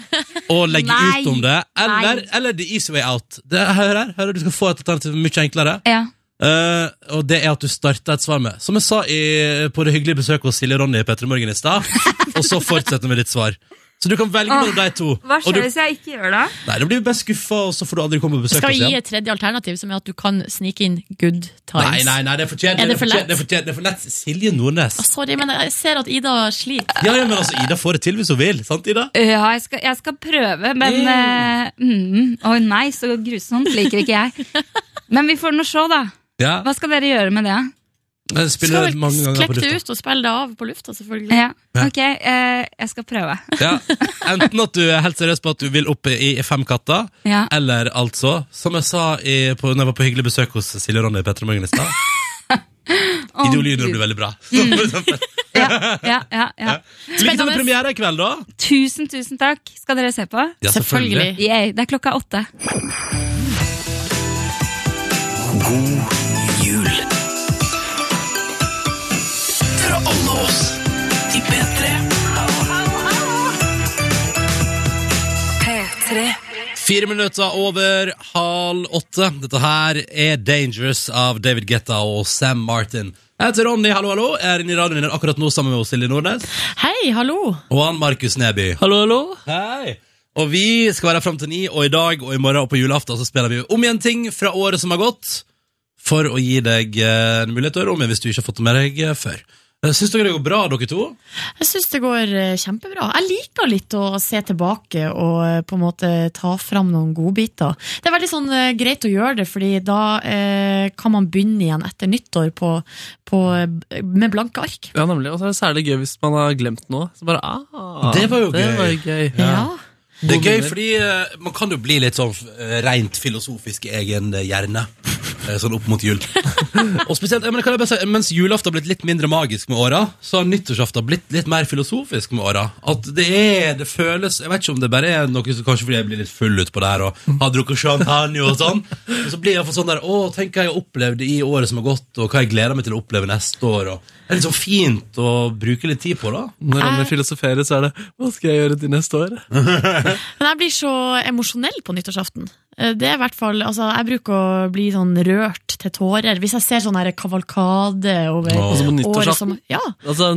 C: Og legge
N: Nei.
C: ut om det. Eller,
N: Nei.
C: eller the easy way out. Det, hør her, hør her, du skal få et alternativ mye enklere.
N: Ja.
C: Eh, og det er at du starter et svar med Som jeg sa i, på det hyggelige besøket hos Silje og Ronny i Petter Morgen i stad. og så fortsetter med ditt svar. Så du kan velge mellom de to.
N: Hva
C: og
N: skjer
C: du,
N: hvis jeg ikke gjør det?
C: nei, da blir du bare skuffa, og så får du aldri komme og besøke
D: Skal
C: oss
D: vi gi
C: igjen.
D: et tredje alternativ, som er at du kan snike inn good times?
C: Nei, nei, nei, det er for kjedelig.
D: Er det
C: kjedelig,
D: for lett?
C: Det er for, kjedelig, det er for lett. Silje Nordnes.
D: Ah, Sorry, men jeg ser at Ida sliter.
C: Ja, ja, men altså, Ida får det til hvis hun vil. Sant, Ida?
N: Ja, jeg skal, jeg skal prøve, men Å mm, å nei, så grusomt liker ikke jeg. Men vi får nå se, da.
C: Ja.
N: Hva skal dere gjøre med det?
C: Jeg spiller det mange ganger
D: Klipp
C: på
D: det
C: lufta.
D: ut og spill det av på lufta, selvfølgelig.
N: Ja, ok, eh, jeg skal prøve.
C: Ja. Enten at du er helt seriøs på at du vil opp i fem katter,
N: Ja.
C: eller altså, som jeg sa i, på, når jeg var på hyggelig besøk hos Silje og Ronny i Petter Morgen i stad
N: Å,
C: Idol Junior
N: Gud. Mm.
C: blir veldig bra.
N: Ja, ja, ja.
C: Lykke til med premiere i kveld, da.
N: Tusen, tusen takk. Skal dere se på?
C: Ja, selvfølgelig. Selvfølgelig.
N: Yay, det er klokka åtte.
B: God jul. Fra alle oss i P3.
O: P3.
C: Fire minutter over halv åtte. Dette her er Dangerous av David Guetta og Sam Martin. Jeg heter Ronny, hallo, hallo. Jeg er inne i radioen din akkurat nå sammen med oss, Silje Nordnes.
D: Hei, hallo.
C: Og han Markus Neby.
E: Hallo, hallo.
C: Hei. Og vi skal være fram til ni, og i dag og i morgen og på julaften så spiller vi om igjen ting fra året som har gått, for å gi deg eh, en mulighet til å høre om igjen hvis du ikke har fått det med deg eh, før. Eh, Syns dere det går bra, dere to?
D: Jeg syns det går eh, kjempebra. Jeg liker litt å se tilbake og eh, på en måte ta fram noen godbiter. Det er veldig sånn eh, greit å gjøre det, fordi da eh, kan man begynne igjen etter nyttår på, på, eh, med blanke ark.
E: Ja, nemlig. Og så er det særlig gøy hvis man har glemt noe. Så bare, ah,
C: Det var jo
E: det
C: gøy.
E: Var jo gøy.
C: Det er
E: Gode
C: gøy
E: minner.
C: fordi eh, man kan jo bli litt sånn eh, rent filosofisk i egen eh, hjerne. eh, Sånn opp mot jul. og spesielt, eh, men kan jeg bare si, Mens julaften har blitt litt mindre magisk med åra, så har nyttårsaften blitt litt mer filosofisk med åra. At det er, det føles Jeg vet ikke om det bare er noe som kanskje fordi jeg blir litt full utpå der og har drukket champagne og sånn. Men så blir jeg iallfall sånn der Å, tenk hva jeg har opplevd i året som har gått, og hva jeg gleder meg til å oppleve neste år. Og det er litt sånn fint å bruke litt tid på, da.
E: Når Ronny
M: Eh.
E: filosoferer, så er det 'hva skal jeg gjøre til neste år'?
D: Men jeg blir så emosjonell på nyttårsaften. Eh, Det er i hvert fall, altså, Jeg bruker å bli sånn rørt til tårer hvis jeg ser sånn her kavalkade over
E: Altså på
D: året
E: nyttårsaften?
D: som Ja.
E: Altså,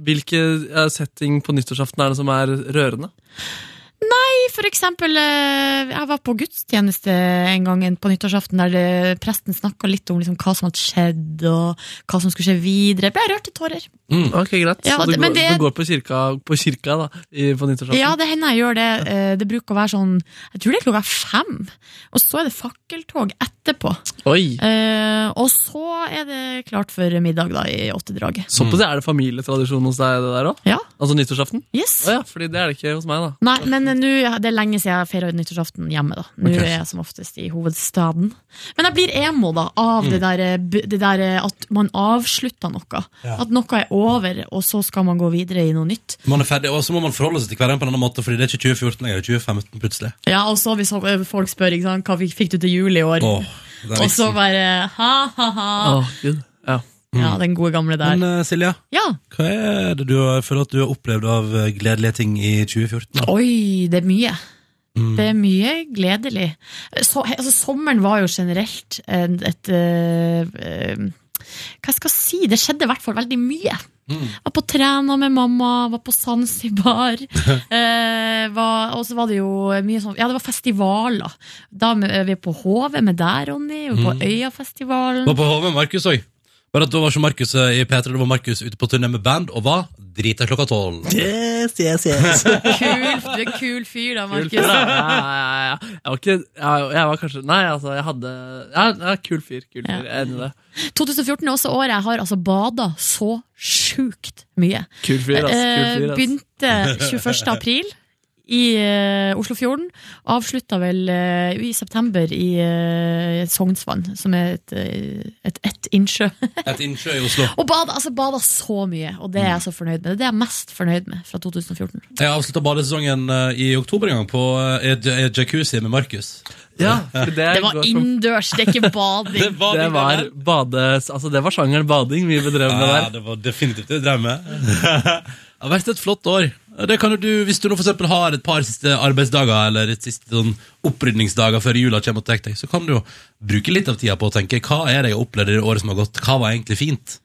E: hvilke eh, setting på nyttårsaften er det som er rørende?
D: Nei, for eksempel eh, Jeg var på gudstjeneste en gang en- på nyttårsaften der det, presten snakka litt om liksom, hva som hadde skjedd, og hva som skulle skje videre. Ble jeg rørt til tårer.
E: Ok, greit.
D: Ja,
E: Mm. så du,
D: det-
E: går,
D: men det-
E: du går på kirka, på kirka da, i, på nyttårsaften?
D: Ja, det hender jeg gjør det. Eh, Det bruker å være sånn Jeg tror det er klokka fem, og så er det fakkeltog etterpå.
E: Oi!
D: Eh, og så er det klart for middag, da, i åttedraget.
E: Såpass er det familietradisjon hos deg, det der òg?
D: Ja.
E: Altså nyttårsaften?
D: Yes.
E: Å ja, fordi det er det ikke hos meg, da.
D: Nei, men nå, det er lenge siden jeg feira nyttårsaften hjemme. da Nå
E: Ok.
D: er jeg som oftest i hovedstaden. Men jeg blir emo da av
C: Mm.
D: det, der, eh, b- det der eh, at man avslutter noe.
C: Ja.
D: At noe er over, og så skal man gå videre i noe nytt.
C: Man er ferdig, og så må man forholde seg til hverandre på en annen måte, fordi det er ikke 2014 lenger, det er 2015 plutselig.
D: eh, Ja, Og så hvis folk spør ikke sant, hva vi- fikk du til jul i år,
C: Åh. Den
D: Og så
C: vitsen.
D: bare ha-ha-ha.
E: Gud. Ja.
D: Ja, den gode gamle der.
C: Mm. Men eh, Silja,
D: Ja.
C: hva er det du har, føler at du har opplevd av eh, gledelige ting i 2014? da?
D: Oi, det er mye.
C: Mm.
D: Det er mye gledelig. Så, altså, sommeren var jo generelt en- et eh, eh, Hva skal jeg si? Det skjedde i hvert fall veldig mye.
E: Mm.
D: Var på Træna med mamma, var på Zanzibar. eh, var- og så var det jo mye sånn Ja, det var festivaler. Da er vi på Hove med deg, Ronny. Vi var på
C: Mm.
D: Øyafestivalen.
C: Var på HV med Markus òg. Bare at da var ikke Markus eh, i P3, da var Markus ute på turné med band og var drita klokka tolv.
E: Yes, yes,
C: yes.
D: Kul, du er kul fyr da,
E: Kul
D: Markus.
E: fyr, da. Ja, ja, ja, ja. Jeg var ikke jeg, jeg var kanskje Nei, altså, jeg hadde Ja, ja kul fyr. Kul fyr. Jeg er enig i det.
D: 2014 er også året jeg har altså bada så sjukt mye.
E: Kul fyr, ass. Kul fyr,
D: Eh,
E: ass.
D: Begynte 21. april i eh, Oslofjorden. Avslutta vel eh, i september i eh, Sognsvann, som er et, eh, et, et innsjø.
C: Et innsjø i Oslo.
D: og bada, altså, bada så mye, og det er jeg så fornøyd med. Det er det jeg er mest fornøyd med fra 2014.
C: Jeg avslutta badesesongen eh, i oktober en gang, på eh, i j- i jacuzzi med Markus.
E: Ja, for det,
D: Det var
E: går-
D: innendørs, det er ikke bading.
E: Det var, bades... Altså, det var sjangeren bading vi bedrev med
C: Ja,
E: der.
C: det var definitivt det drev med. Det har vært et flott år. Det kan jo du, Hvis du nå for eksempel har et par siste arbeidsdager eller et siste sånn opprydningsdager før jula kommer og tar deg, så kan du jo bruke litt av tida på å tenke hva er det jeg opplevde i det året som har gått, hva var egentlig fint?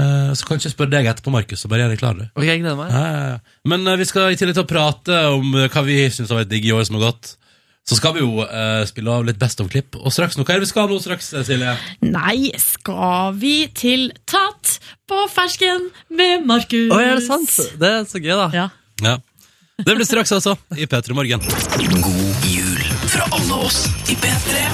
C: Eh, Så kan jeg ikke spørre deg etterpå, Markus, og bare gjør deg klar. du.
E: Ok, jeg gleder meg.
C: Ja, ja, ja. Men eh, vi skal i tillegg til å prate om eh, hva vi syns har vært digg i året som har gått. Så skal vi jo eh, spille av litt Best of-klipp. Og straks nå, hva er det vi skal nå straks, eh, Silje?
D: Nei, skal vi til Tatt på fersken med Markus?
E: Oi, er det sant? Det er så gøy, da.
C: Ja. Det blir straks, altså, i P3 Morgen. God jul.
B: Fra alle oss i P3.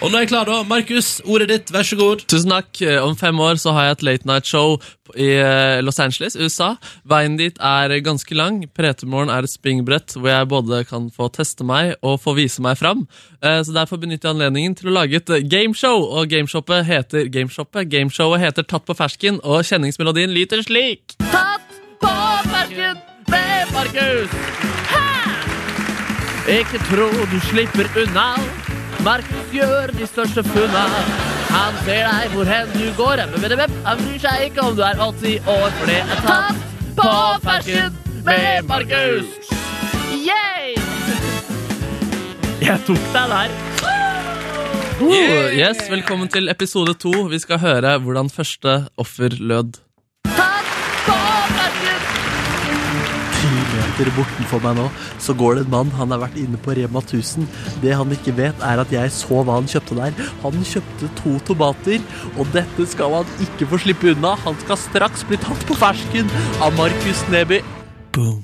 C: Og nå er jeg klar, da. Markus, ordet ditt, vær så god.
E: Tusen takk. Eh, Om fem år så har jeg et late night show i eh, Los Angeles, USA. Veien dit er ganske lang. Pretemorgen er et springbrett hvor jeg både kan få teste meg og få vise meg fram. Eh, Så derfor benytter jeg anledningen til å lage et eh, gameshow, og gameshowet heter Gameshowet. Gameshowet heter Tatt på fersken, og kjenningsmelodien lyter slik. Tatt på fersken med Markus! Ikke tro du slipper unna. Markus gjør de største funna. Han ser deg hvor hen du går. Epp, epp, epp. Han bryr seg ikke om du er 80 år, for det er tatt på fersken med Markus. Jeg tok deg der. yes, Velkommen til episode to. Vi skal høre hvordan første offer lød. Ti meter bortenfor meg nå, så går det en mann. Han har vært inne på Rema 1000. Det han ikke vet, er at jeg så hva han kjøpte der. Han kjøpte to tomater, og dette skal han ikke få slippe unna. Han skal straks bli tatt på fersken av Markus Neby. Boom.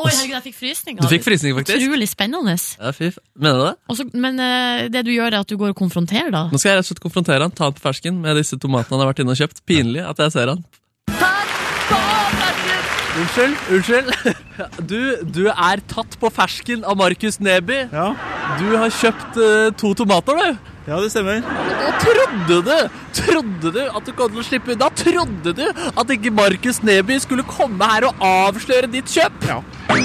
D: Oi, herregud, jeg fikk frysninger.
E: Du fikk frysninger, faktisk.
D: Utrolig spennende.
E: Ja, fy f... Mener du det?
D: Og så- men eh, det du gjør, er at du går og konfronterer, da.
E: Nå skal jeg rett og slett konfrontere han, ta han på fersken med disse tomatene han har vært inne og kjøpt. Pinlig at jeg ser han. Unnskyld, unnskyld. Du, du er tatt på fersken av Markus Neby. Ja. Du har kjøpt eh, to tomater, du. Ja, det stemmer. Og trodde du, trodde du at du kom til å slippe unna? Trodde du at ikke Markus Neby skulle komme her og avsløre ditt kjøp? Ja.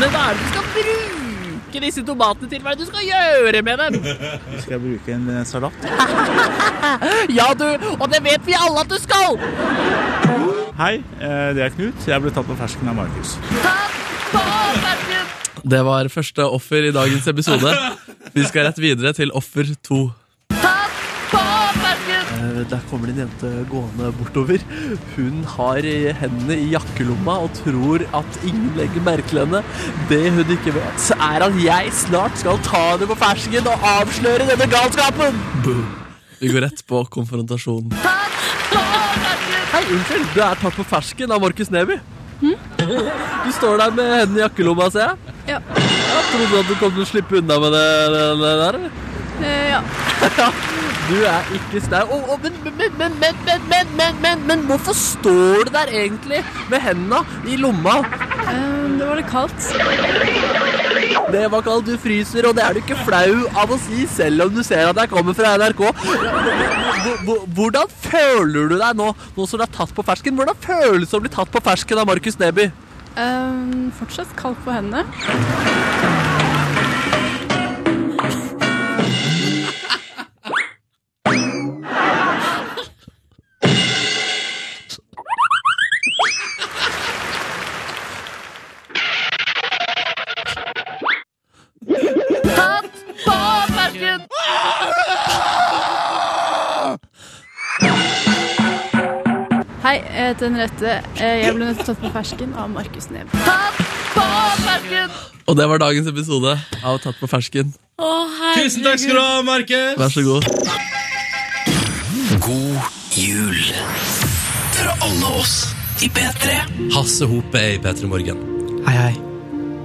E: Men hva er det du skal bruke disse tomatene til? Hva er det du skal gjøre med dem?
O: Skal jeg bruke en eh, salat?
E: Ja, du, og det vet vi alle at du skal!
O: Hei, eh, det er Knut. Jeg ble tatt på fersken av Markus.
E: Det var første offer i dagens episode. Vi skal rett videre til offer to. Eh, Der kommer det en jente gående bortover. Hun har eh, hendene i jakkelomma og tror at ingen legger merke til henne. Det hun ikke vet, er at jeg snart skal ta henne på fersken og avsløre denne galskapen! Boom. Vi går rett på konfrontasjon. Hei, unnskyld. Du er tatt på fersken av Markus Neby. Du står der med hendene i jakkelomma, ser jeg.
L: Ja.
E: Ja, Trodde du at du kom til å slippe unna med det, det, det der, eller?
L: Eh, ja.
E: Du er ikke sterk. Å, å, men, men, men, men, men, men, men, men, men hvorfor står du der egentlig med hendene i lomma?
L: Ehm, det var litt kaldt.
E: Det var kaldt, du fryser, og det er du ikke flau av å si selv om du ser at jeg kommer fra NRK. Hvor- hvor- Hvordan føler du deg nå, nå som du er tatt på fersken? Hvordan føles det å bli tatt på fersken av Markus Neby?
L: Ehm, fortsatt kaldt på hendene.
P: Hei, jeg heter Henriette. Eh, Jeg ble nødt til å tatt på fersken av Markus Neby.
E: Og det var dagens episode av Tatt på fersken.
C: Tusen takk skal du ha, Markus!
E: Vær så god.
B: God jul til alle oss i P3.
C: Hasse Hope er i P3 Morgen. Hei, hei.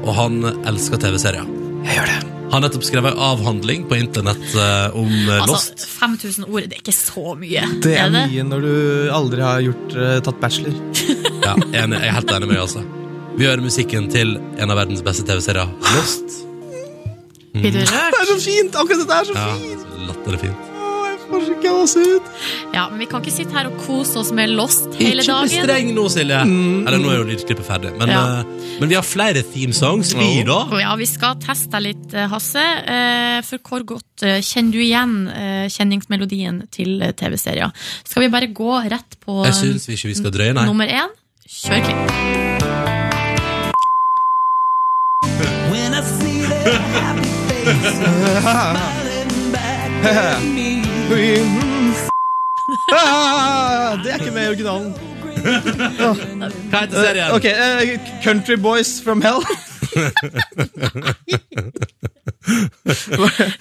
C: Og han elsker TV-serier. Jeg gjør det. Han har nettopp skrevet en avhandling på internett eh, om eh, Lost.
D: Altså, 5000 ord, det er ikke så mye.
Q: Det er mye når du aldri har gjort, eh, tatt bachelor.
C: Ja, enig, jeg er helt enig med deg, altså. Vi hører musikken til en av verdens beste TV-serier, Lost.
Q: Det er så fint! Akkurat dette er så
C: Ja,
Q: fint!
C: latter er fint.
Q: Får så ut.
D: Ja, men vi kan ikke sitte her og kose oss med Lost hele
C: Ikke bli streng
D: dagen. Mm.
C: nå, Silje. Eller nå er jo lydklippet ferdig. Men,
D: Ja.
C: eh, men vi har flere theme songs, vi, da.
D: Ja, vi skal teste deg litt, eh, Hasse. Eh, For hvor godt eh, kjenner du igjen eh, kjenningsmelodien til eh, TV-serier? Skal vi bare gå rett på
C: Jeg syns vi ikke vi skal drøye, nei.
D: nummer én? Kjør klipp.
Q: Ah, det er ikke med i originalen.
C: Hva heter serien?
Q: Ok, eh, Country Boys from Hell.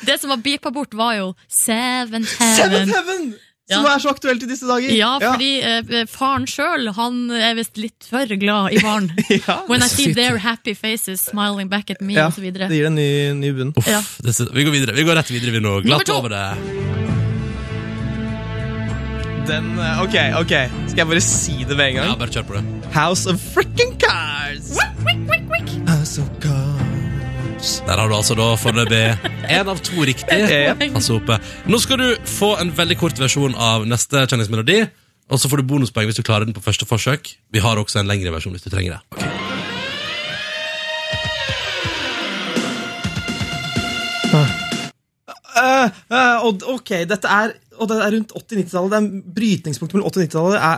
D: Det som var beepa bort, var jo Seven Heaven.
Q: Seventh Heaven! Som er så aktuelt i disse dager.
D: Ja,
Q: Ja.
D: fordi eh, faren sjøl er visst litt for glad i barn. When I see their happy faces smiling back at me,
Q: Ja,
D: osv.
Q: det gir en ny, ny bunn.
D: Ja.
C: Det sy- Vi går videre. Vi går rett videre, vi nå.
D: Nummer
C: Glatt
D: to.
C: over det.
Q: Den, eh, ok, ok. Skal jeg bare si det med en gang? Ja,
C: bare kjør på det.
Q: House of Frickin' Cars. House of
C: Der har du altså da foreløpig én av to riktig. Altså oppe. Nå skal du få en veldig kort versjon av neste kjenningsmelodi. Og så får du bonuspoeng hvis du klarer den på første forsøk. Vi har også en lengre versjon hvis du trenger det.
Q: Eh, eh, og, ok, dette er, og det er rundt 80-90-tallet. Det er Brytningspunktet mellom 80- og 90-tallet er eh,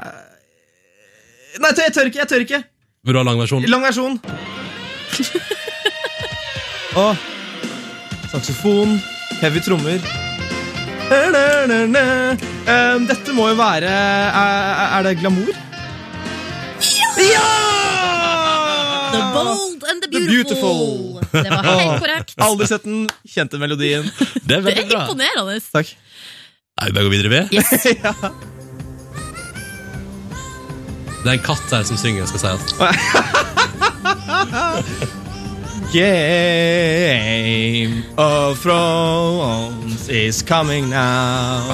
Q: Nei, jeg tør ikke! jeg tør ikke
C: Vil du ha lang versjon?
Q: Lang versjon. og saksofon, heavy trommer Na-na-na-na. Ehm, Dette må jo være eh, Er, er det glamour? Ja!
D: The bold and the
Q: The
D: beautiful. Det var
Q: Åh,
D: helt korrekt.
Q: Aldri sett den, kjente melodien.
C: Det
D: Det er imponerende.
Q: Takk.
C: Nei, vi bare går videre, vi.
D: Yes.
C: Det er en katt her som synger, skal sies.
Q: Game of Thrones is coming now.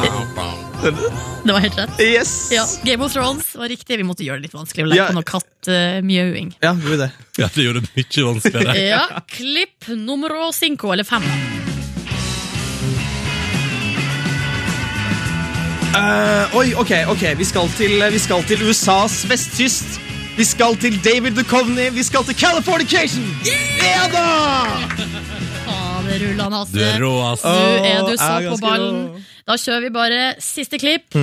D: Det var helt rett.
Q: Yes.
D: Ja, Game of Thrones var riktig. Vi måtte gjøre det litt vanskelig å legge
Q: Ja.
D: på noe kattmjauing.
Q: Ja, gjorde det.
C: Ja, det gjorde det mye vanskeligere.
D: ja, klipp nummer cinco, eller fem.
Q: Eh, oi, ok, ok. Vi skal, til, vi skal til USAs vestkyst. Vi skal til David Duchovny. Vi skal til Californication. Ja da!
D: Faderullan, Hasse.
Q: Du er rå, ass.
D: Du er
Q: Åh,
D: du
Q: jeg
D: så
Q: er
D: på
Q: ganske Mm.
D: ballen. Da kjører vi bare siste klipp.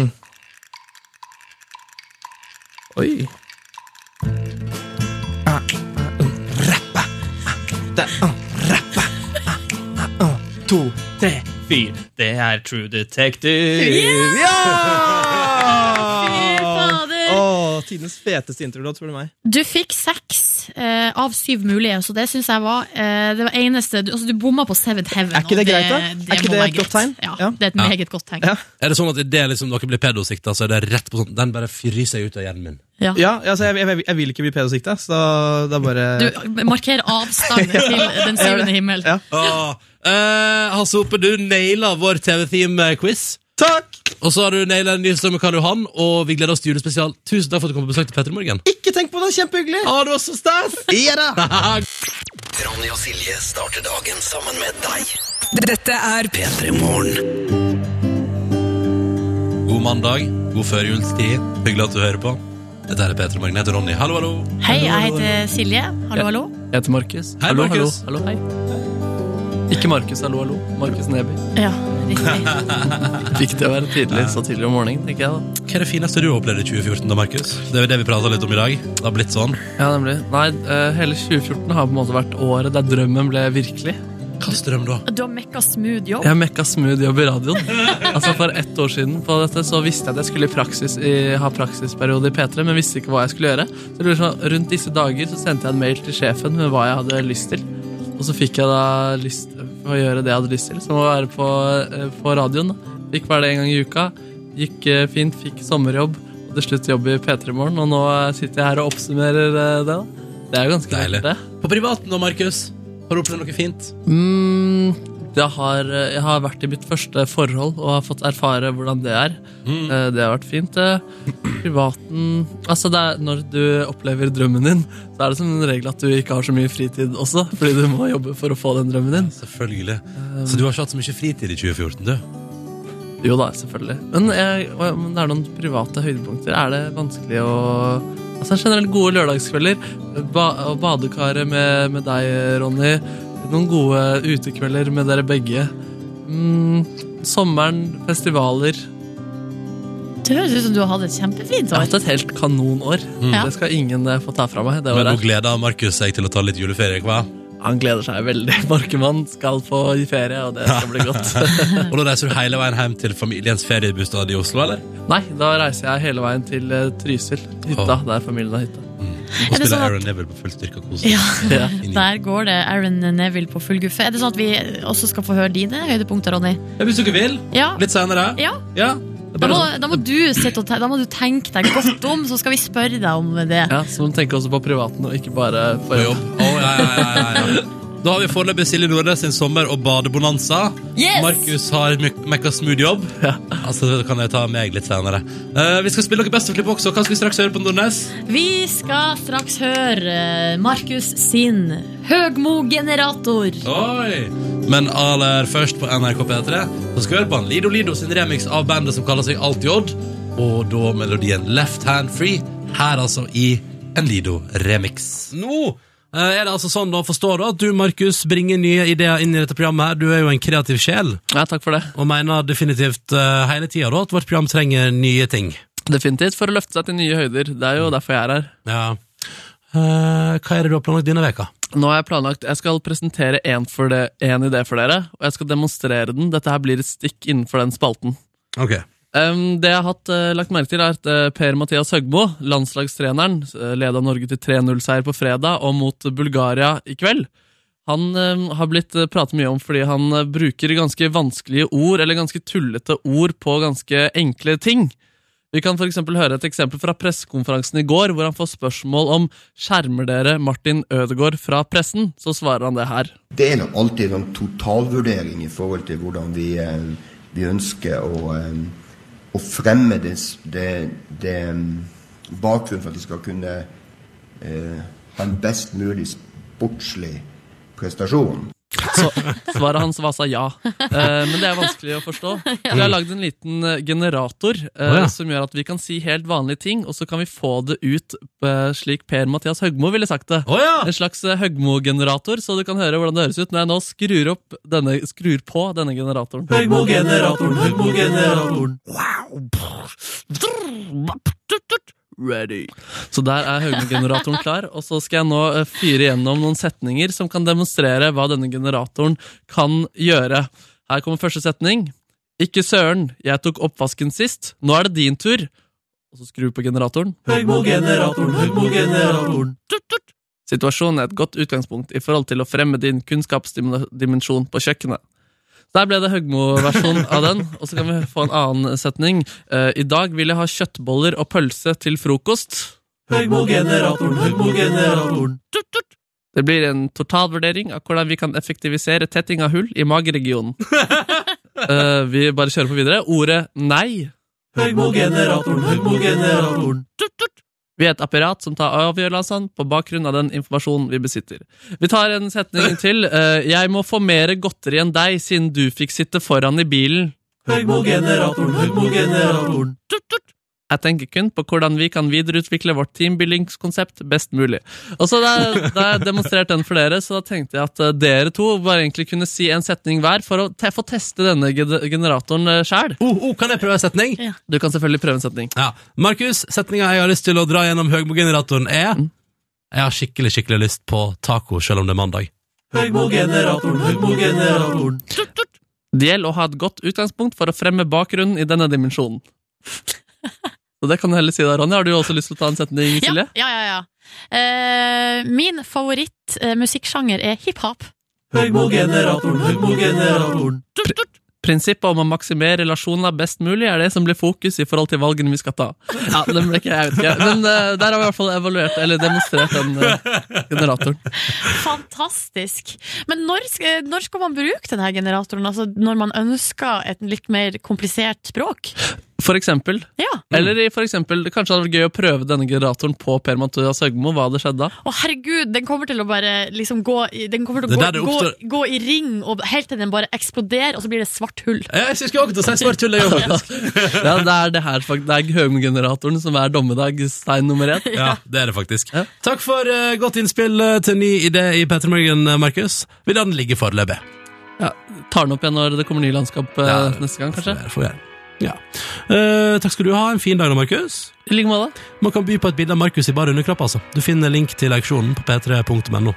Q: Oi. ah, To, tre, fire. Det er True Detective.
B: Yeah!
Q: Ja!
D: Fy fader.
Q: Åh, tidenes feteste intro, tror du meg.
D: Du fikk seks eh, av syv mulige, så det syns jeg var eh, det var eneste Du, altså, du bomma på Seventh Heaven.
Q: Er ikke det
D: og
Q: greit, da? Er ikke
D: må
Q: det
D: være
Q: et godt
D: greit. Ja, det er et
C: Ja.
D: meget godt tegn.
C: Er det sånn at idet liksom dere blir pedosikta, så er det rett på sånn Den bare fryser jeg ut av hjernen min.
D: Ja.
Q: altså, jeg, jeg, jeg vil ikke bli pedosikta, så da bare
D: Du markerer avstand til den syvende himmel.
C: Åh, eh, Hasse Hope, du naila vår TV-theme-quiz.
Q: Takk!
C: Og så har du naila en ny strøm med Karl Johan, og vi gleder oss til julespesial. Tusen takk for at du kom på besøk til Petter Morgen.
Q: Ikke tenk på det, kjempehyggelig!
C: Å, det var så stas!
Q: Ja da!
B: Ronny og Silje starter dagen sammen med deg. Dette er P3 Morgen.
C: God mandag, god førjulstid. Hyggelig at du hører på. Dette er Petter Morgen. Jeg heter Ronny. Hallo, hallo.
D: Hei, jeg heter Silje. Hallo, hallo.
E: Jeg heter Markus.
C: Hei,
E: hallo,
C: Markus.
E: hallo, hallo. Ikke Markus, hallo, hallo. Markus Neby.
D: Ja, riktig.
E: Viktig å være tidlig så tidlig om morgenen, tenker jeg da.
C: Hva er det fineste du opplevde i 2014, da, Markus? Det er jo det vi prata litt om i dag. Det har blitt sånn.
E: Ja, nemlig. Nei, eh, hele 2014 har på en måte vært året der drømmen ble virkelig.
C: Hva strøm da?
D: Du har mekka smooth jobb.
E: Jeg mekka smooth jobb i radioen. Altså For ett år siden på dette så visste jeg at jeg skulle i praksis i, ha praksisperiode i P3, men visste ikke hva jeg skulle gjøre. Så jeg lurer sånn, Rundt disse dager så sendte jeg en mail til sjefen med hva jeg hadde lyst til. Og så fikk jeg da lyst til å gjøre det jeg hadde lyst til, som å være på, eh, på radioen. Da. Fikk være det en gang i uka. Gikk eh, fint, fikk sommerjobb, og til slutt jobb i P3 Morgen. Og nå eh, sitter jeg her og oppsummerer eh, det. da. Det er jo ganske
C: Deilig.
E: deilig.
C: På privaten da, Markus? Har du opplevd noe fint?
E: Mm, jeg, har, jeg har vært i mitt første forhold og har fått erfare hvordan det er. Eh, Det har vært fint. eh. Privaten Altså, det er, når du opplever drømmen din, så er det som en regel at du ikke har så mye fritid også, fordi du må jobbe for å få den drømmen din.
C: Selvfølgelig. Eh. Så du har ikke hatt så mye fritid i 2014, du?
E: Jo da, selvfølgelig. Men, jeg, men det er noen private høydepunkter. Er det vanskelig å Altså generelt gode lørdagskvelder. Ba og badekaret med, med deg, Ronny. Noen gode utekvelder med dere begge. Mm, sommeren, festivaler.
D: Det høres ut som du har hatt et kjempefint
E: Jeg har
D: år.
E: hatt et helt kanonår.
D: Mm. Ja.
E: Det skal ingen eh, få ta fra meg. Det
C: Men nå
E: året.
C: gleder Markus seg til å ta litt juleferie, hva?
E: Han gleder seg veldig. Markemann skal få i ferie, og det skal bli godt.
C: og da reiser du hele veien hjem til familiens feriebostad i Oslo, eller?
E: Nei, da reiser jeg hele veien til eh, Trysil. Hytta, der familien har hytta.
C: Og spiller Aaron Neville på full styrke og koser
D: Ja,
E: Ja.
D: Der går det Aaron Neville på full guffe. Er det sånn at vi også skal få høre dine høydepunkter, Ronny?
C: Ja, Hvis dere vil.
D: Ja.
C: Litt senere.
D: Ja.
C: det er sånn-
D: Da må,
E: sånn.
C: bare-
D: da, må du sitte og te da må du tenke deg godt om, så skal vi spørre deg om det.
E: Ja, Så må du tenke også på privaten, og ikke bare på jobb.
C: Da har vi foreløpig Silje Nordnes sin sommer- og badebonanza.
D: Yes!
C: Markus har mek- mekka smooth jobb. Altså, det kan jeg ta meg litt senere. Eh, vi skal spille noe best klipp også. Hva skal vi straks høre på Nordnes?
D: Vi skal straks høre eh, Markus sin Høgmo-generator.
C: Oi! Men aller først på NRK P3 så skal vi høre på han Lido Lido sin remix av bandet som kaller seg Alt J. Og da melodien Left Hand Free, her altså i en Lido-remix. Nå eh, er det altså sånn da, forstår du, at du, Markus, bringer nye ideer inn i dette programmet her. Du er jo en kreativ sjel.
E: Ja, takk for det.
C: Og mener definitivt eh, hele tida da, at vårt program trenger nye ting.
E: Definitivt for å løfte seg til nye høyder. Det er jo derfor jeg er her.
C: Ja. Eh, hva er det du har planlagt denne veka?
E: Nå har Jeg planlagt, jeg skal presentere én idé for dere, og jeg skal demonstrere den. Dette her blir et stikk innenfor den spalten.
C: Ok.
E: Em, det jeg har hatt, eh, lagt merke til, er at eh, Per-Mathias Høgmo, landslagstreneren, uh, leda Norge til 3-0-seier på fredag og mot Bulgaria i kveld. Han eh, har blitt eh, pratet mye om fordi han eh, bruker ganske vanskelige ord, eller ganske tullete ord, på ganske enkle ting. Vi kan for eksempel høre et eksempel fra pressekonferansen i går, hvor han får spørsmål om skjermer dere Martin Ødegaard fra pressen? Så svarer han det her.
R: Det er nok alltid en totalvurdering i forhold til hvordan vi, eh, vi ønsker å, eh, å fremme det, s- det, det eh, bakgrunnen for at vi skal kunne eh, ha en best mulig sportslig prestasjon.
E: Så svaret hans var altså ja. Eh, men det er vanskelig å forstå. Så jeg har lagd en liten eh, generator eh,
S: Å, ja.
E: som gjør at vi kan si helt vanlige ting, og så kan vi få det ut eh, slik Per-Mathias Høgmo ville sagt det. En slags eh, Høgmo-generator, så du kan høre hvordan det høres ut når jeg nå skrur, opp denne, skrur på denne generatoren.
S: Høgmo-generatoren, Høgmo-generatoren.
E: Ready. Så der er Høgmo-generatoren klar, og så skal jeg nå eh, fyre gjennom noen setninger som kan demonstrere hva denne generatoren kan gjøre. Her kommer første setning. Ikke søren, jeg tok oppvasken sist, nå er det din tur. Og så skrur vi på generatoren.
S: Høgmo-generatoren, Høgmo-generatoren.
E: Situasjonen er et godt utgangspunkt i forhold til å fremme din kunnskapsdimensjon på kjøkkenet. Der ble det Høgmo-versjon av den, og så kan vi få en annen setning. Eh, I dag vil jeg ha kjøttboller og pølse til frokost.
S: Høgmo-generatoren, Høgmo-generatoren.
E: Det blir en totalvurdering av hvordan vi kan effektivisere tetting av hull i mageregionen. Eh, vi bare kjører på videre. Ordet nei.
S: Høgmo-generatoren, Høgmo-generatoren.
E: Vi er et apparat som tar avgjørelsene på bakgrunn av den informasjonen vi besitter. Vi tar en setning til. Eh, jeg må få mer godteri enn deg, siden du fikk sitte foran i bilen.
S: Høgmo-generatoren, Høgmo-generatoren.
E: Jeg tenker kun på hvordan vi kan videreutvikle vårt teambuildingskonsept best mulig. Og så Da da har jeg demonstrert den for dere, så da tenkte jeg at eh, dere to bare egentlig kunne si en setning hver for å te få teste denne gen- generatoren sjæl.
C: Oh, kan jeg prøve en setning?
E: Du kan selvfølgelig prøve en setning.
C: Ja. Markus, setninga jeg har lyst til å Mm. dra gjennom Høgmo-generatoren er Jeg har skikkelig, skikkelig lyst på taco, selv om det er mandag.
S: Høgmo-generatoren, Høgmo-generatoren.
E: Det gjelder å ha et godt utgangspunkt for å fremme bakgrunnen i denne dimensjonen. Så det kan du heller si da, Ronja. Har du også lyst til å ta en setning,
D: Ja,
E: Silje?
D: ja, ja. ja. Eh, min favorittmusikksjanger er hiphop.
S: Høgmo-generatoren, Høgmo-generatoren.
E: Prinsippet om å maksimere relasjoner best mulig er det som blir fokus i forhold til valgene vi skal ta. Ja, den ble ikke, jeg vet ikke. Men eh, der har vi i hvert fall evaluert, eller demonstrert den eh, generatoren.
D: Fantastisk! Men når, sk- når skal man bruke denne generatoren? Altså, når man ønsker et litt mer komplisert språk?
E: For eksempel.
D: Ja.
E: Eller i for eksempel, det kanskje hadde vært gøy å prøve denne generatoren på Per Mathias Høgmo. Hva hadde skjedd da?
D: Å, herregud, den kommer til å bare liksom gå i, den kommer til
E: Det
D: å
E: er der
D: gå,
E: det
D: gå,
E: oppstår-
D: gå i ring og helt til den bare eksploderer, og så blir det svart hull.
C: Jeg synes ikke jeg orket å si svart hull, jeg
E: Ja, det er det her, fakt- det er Høgmo-generatoren som er dommedagstegn nummer én.
C: Ja, det er det faktisk. Takk for eh, godt innspill eh, til ny idé i Petter Morgen, eh, Markus. Vi lar den ligge foreløpig.
E: Ja, tar den opp igjen når det kommer ny landskap eh,
C: Ja, det
E: neste gang, kanskje?
C: får vi gjøre. Ja. Eh, takk skal du ha. En fin dag da, Markus.
E: I like måte.
C: Man kan by på et bilde av Markus i bare underkropp, altså. Du finner link til auksjonen på p3.no.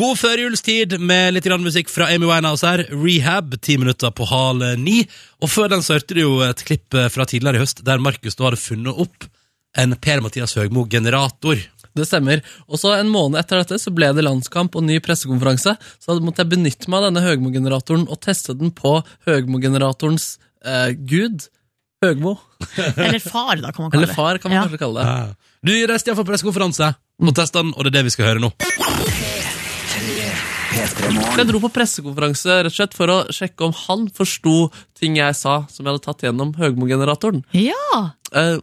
C: God førjulstid med litt grann musikk fra Amy Winehouse her. Rehab, ti minutter på hal ni. Og før den så hørte du jo et klipp eh, fra tidligere i høst der Markus da hadde funnet opp en Per-Mathias Høgmo-generator.
E: Det stemmer. Og så En måned etter dette så ble det landskamp og ny pressekonferanse. Så da måtte jeg benytte meg av denne Høgmo-generatoren og teste den på Høgmo-generatorens eh, gud, Høgmo.
D: Eller far, da, kan man kalle
E: Eller
D: det.
E: far, kan man kanskje kalle det.
C: Du reiste iallfall på pressekonferanse og testa den, og det er det vi skal høre nå.
E: Jeg dro på pressekonferanse rett og slett for å sjekke om han forsto ting jeg sa som jeg hadde tatt gjennom Høgmo-generatoren.
D: Ja!
E: Eh,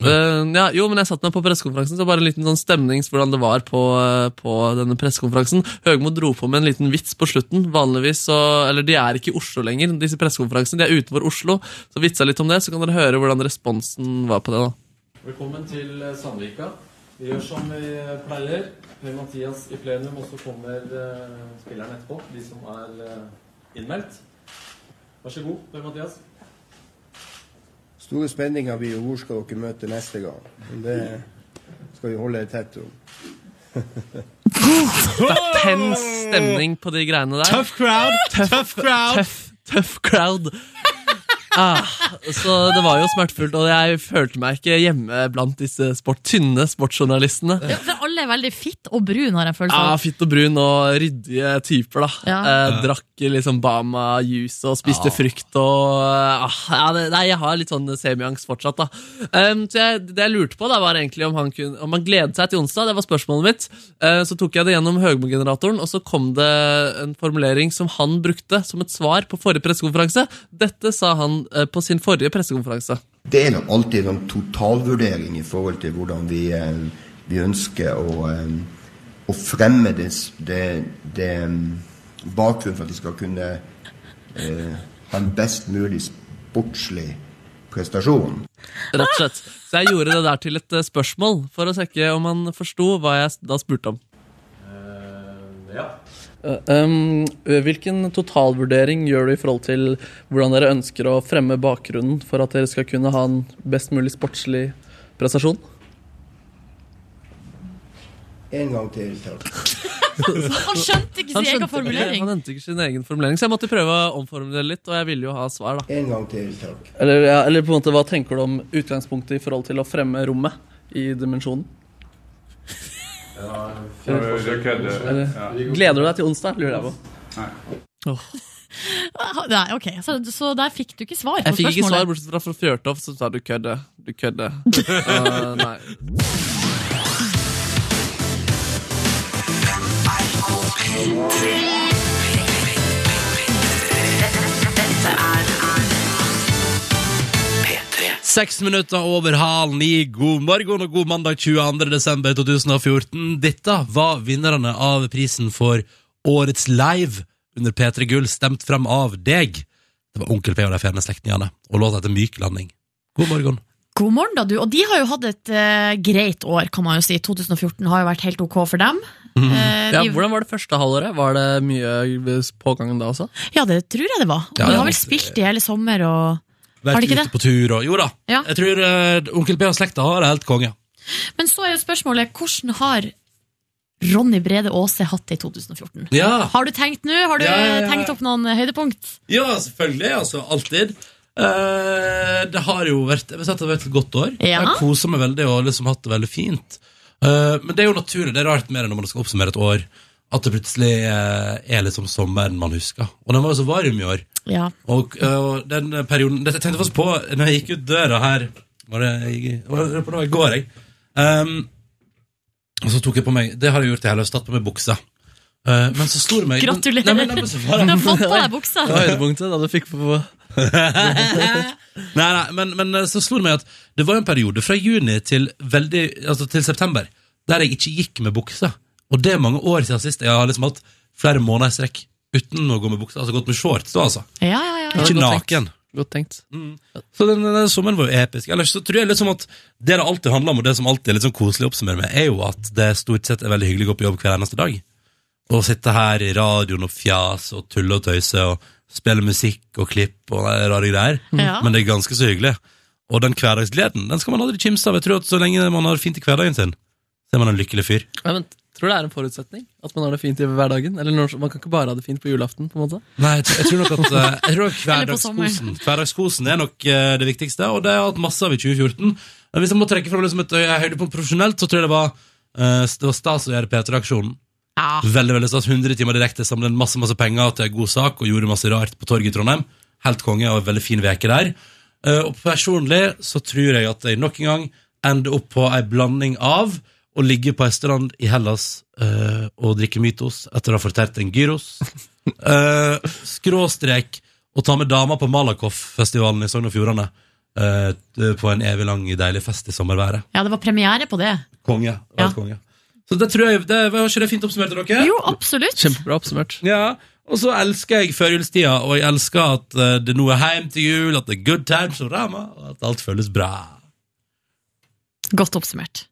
E: eh, ja, jo, men jeg satt meg på pressekonferansen, så bare en liten sånn stemnings hvordan det var på, eh, på denne pressekonferansen. Høgmo dro på med en liten vits på slutten. Vanligvis så, eller de er ikke i Oslo lenger, disse pressekonferansene. De er utenfor Oslo. Så vitsa litt om det, så kan dere høre hvordan responsen var på det. da.
T: Velkommen til eh, Sandvika. Vi gjør som vi eh, pleier. Per Mathias i plenum, og så kommer eh, spilleren etterpå. De som er eh, innmeldt. Vær så god, Per Mathias.
R: Store spenninger blir jo hvor skal dere møte neste gang. Men det skal vi holde tett om.
E: Det er tens stemning på de greiene der.
R: Tough crowd,
E: Tøff crowd. Tøff, tøff crowd. Ah, så det var jo smertefullt, og jeg følte meg ikke hjemme blant disse sport, tynne sportsjournalistene.
D: For alle er veldig fitt og brun, har jeg sånn. en følelse
E: Ja,
D: av.
E: Fitt og brun og ryddige typer, da.
D: Ja.
E: Eh,
D: Ja.
E: drakk liksom Bama-juice og spiste
D: Ja.
E: frukt og ah, ja, det, Nei, jeg har litt sånn semiangst fortsatt, da. Em, så jeg, det jeg lurte på, da, var egentlig om han, kunne, om han gledet seg til onsdag. Det var spørsmålet mitt. Eh, så tok jeg det gjennom Høgmo-generatoren, og så kom det en formulering som han brukte som et svar på forrige pressekonferanse. Dette sa han eh, på sin forrige pressekonferanse.
R: Det er nok alltid en totalvurdering i forhold til hvordan vi, eh, vi ønsker å, eh, å fremme det, s- det, det mm, bakgrunnen for at vi skal kunne eh, ha en best mulig sportslig prestasjon.
E: Rett og slett. Så jeg gjorde det der til et eh, spørsmål, for å sjekke om han forsto hva jeg s- da spurte om.
T: Ja.
E: Um, hvilken totalvurdering gjør du i forhold til hvordan dere ønsker å fremme bakgrunnen for at dere skal kunne ha en best mulig sportslig prestasjon?
R: En gang til. takk.
D: Han skjønte ikke
E: Han
D: sin egen
E: skjønte ikke-
D: formulering.
E: Han skjønte ikke sin egen formulering, så jeg måtte prøve å omformulere litt, og jeg ville jo ha svar, da.
R: En gang til, takk.
E: Eller, ja, eller på en måte, hva tenker du om utgangspunktet i forhold til å fremme rommet i dimensjonen?
T: Ja, det kødder.
E: Eller,
T: Ja.
E: Gleder du deg til onsdag, lurer jeg på.
D: Ah, Nei, ok, så, så der fikk du ikke svar på
E: Jeg fikk ikke svar,
D: spørsmålet.
E: bortsett fra fra Fjørtoft, som sa du kødder. Du kødder. Eh, nei.
C: Seks minutter over halv ni. God morgen og god mandag 22. desember 2014. Dette var vinnerne av prisen for Årets Live under P3 Gull, stemt frem av deg. Det var Onkel P og de fjerne slektningene, og låta heter Myk landing. God morgen.
D: God morgen, da, du. Og de har jo hatt et eh, greit år, kan man jo si. 2014 har jo vært helt ok for dem. Eh,
E: Mhm. ja,
D: de-
E: hvordan var det første halvåret? Var det mye pågang da også?
D: Ja, det tror jeg det var.
E: Ja,
D: de
E: ja.
D: har vel spilt i hele sommer og Har
C: Vært
D: de ikke
C: ute
D: det?
C: på tur og Jo da.
D: Ja.
C: Jeg tror eh, Onkel P og slekta har det helt konge.
D: Men så er jo spørsmålet hvordan har Ronny Brede Aase hatt det i 2014?
C: Ja.
D: Har du tenkt nå? Har du
C: Ja, ja, ja.
D: tenkt opp noen høydepunkt?
C: Ja, selvfølgelig. Altså, alltid. Eh, det har jo vært jeg vil si at det har vært et godt år.
D: Ja.
C: Jeg har kosa meg veldig og liksom hatt det veldig fint. Eh, men det er jo naturlig. Det er rart mer enn når man skal oppsummere et år, at det plutselig eh, er liksom sommeren man husker. Og den var jo så varm i år.
D: Ja.
C: Og, eh, og den perioden Dette tenkte jeg faktisk på når jeg gikk ut døra her Var det, jeg, var det på nå i går, jeg? Ehm, og så tok jeg på meg Det har jeg gjort i hele høst. Tatt på meg buksa. Eh, men så sto det meg
D: Gratulerer!
C: Nei, men- nei, men så var det-
D: Du har fått på deg buksa.
C: Det var høydepunktet da du fikk på Nei, nei, men, men eh, så slo det meg at det var jo en periode fra juni til, veldig, altså til september der jeg ikke gikk med buksa. Og det er mange år siden sist. Jeg har liksom hatt flere måneder i strekk uten å gå med buksa. Altså gått med shorts, da, altså.
D: Ja, ja, ja.
C: Ikke naken.
E: Godt tenkt.
C: Så den, den, sommeren var jo episk. Ellers så tror jeg liksom at det det alltid handler om, og det som alltid er litt sånn koselig å oppsummere med, er jo at det stort sett er veldig hyggelig å gå på jobb hver eneste dag. Og sitte her i radioen og fjase og tulle og tøyse og spille musikk og klipp og nei, rare greier. Mm.
S: Ja.
C: Men det er ganske så hyggelig. Og den hverdagsgleden, den skal man aldri kimse av. Jeg tror at så lenge man har fint i hverdagen sin, så er man en lykkelig fyr.
E: Nei, men Tror du det er en forutsetning? At man har det fint i hverdagen? Eller når, Man kan ikke bare ha det fint på julaften? på en måte
C: Nei, jeg tror, jeg tror nok at eh, jeg tror nok
E: Eller på
C: hverdagskosen,
E: sommeren.
C: hverdagskosen er nok eh, det viktigste, og det har jeg hatt masse av i 2014. Men hvis jeg må trekke fram liksom et øye jeg høyde på profesjonelt, så tror jeg det var, eh, det var stas å gjøre P3-aksjonen.
D: Ja.
C: Veldig, veldig stas. 100 timer direkte, samlet inn masse, masse penger til en god sak, og gjorde masse rart på torget i Trondheim. Helt konge, og en veldig fin veke der. Eh, og personlig så tror jeg at jeg nok en gang ender opp på ei blanding av å ligge på ei strand i Hellas eh, og drikke mytos etter å ha fortært en gyros. Eh, skråstrek å ta med dama på Malakoff-festivalen i Sogn og Fjordane. eh, på en evig lang deilig fest i sommerværet.
D: Ja, det var premiere på det.
C: Konge. Ja. konge. Så det tror jeg, det var ikke det fint oppsummert av dere?
D: Jo, absolutt.
E: Kjempebra oppsummert.
C: Ja, og så elsker jeg førjulstida, og jeg elsker at eh, det nå er heim til jul, at det er good times og rama, og at alt føles bra.
D: Godt oppsummert.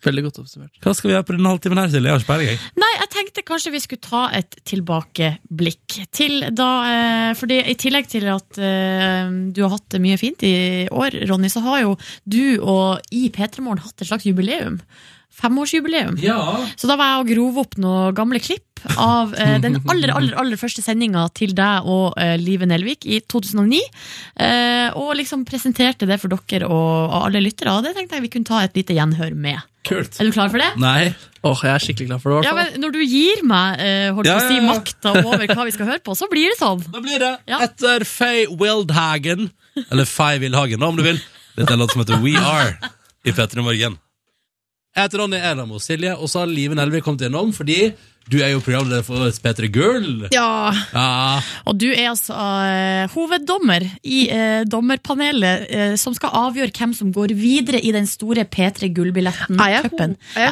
E: Veldig godt oppsummert.
C: Hva skal vi gjøre på den halvtimen her, Silje? Jeg har ikke peiling, jeg.
D: Nei, jeg tenkte kanskje vi skulle ta et tilbakeblikk til da eh, Fordi i tillegg til at eh, du har hatt det mye fint i år, Ronny, så har jo du og i P3 Morgen hatt et slags jubileum. Femårsjubileum.
C: Ja.
D: Så da var jeg og grov opp noen gamle klipp av eh, den aller, aller, aller første sendinga til deg og eh, Live Nelvik i 2009. Eh, og liksom presenterte det for dere og, og alle lyttere, og det tenkte jeg vi kunne ta et lite gjenhør med.
C: Kult.
D: Er du klar for det?
C: Nei.
E: Åh, jeg er skikkelig klar for det. i hvert
D: Ja,
E: fall.
D: men Når du gir meg eh, holdt
E: Ja,
D: på å si,
E: ja, ja.
D: makta over hva vi skal høre på, så blir det sånn.
C: Da blir det. Etter Faye Wildhagen, eller Faye Wildhagen, da, om du vil. Dette er en låt som heter We Are i P3 Morgen. Jeg heter Ronny Erlam og Silje, og så har Live Nelvik kommet innom, fordi du er jo programleder for årets P3 Gull.
D: Ja,
C: Ja.
D: og du er altså eh, hoveddommer i eh, dommerpanelet eh, som skal avgjøre hvem som går videre i den store P3 Gullbilletten. Er jeg,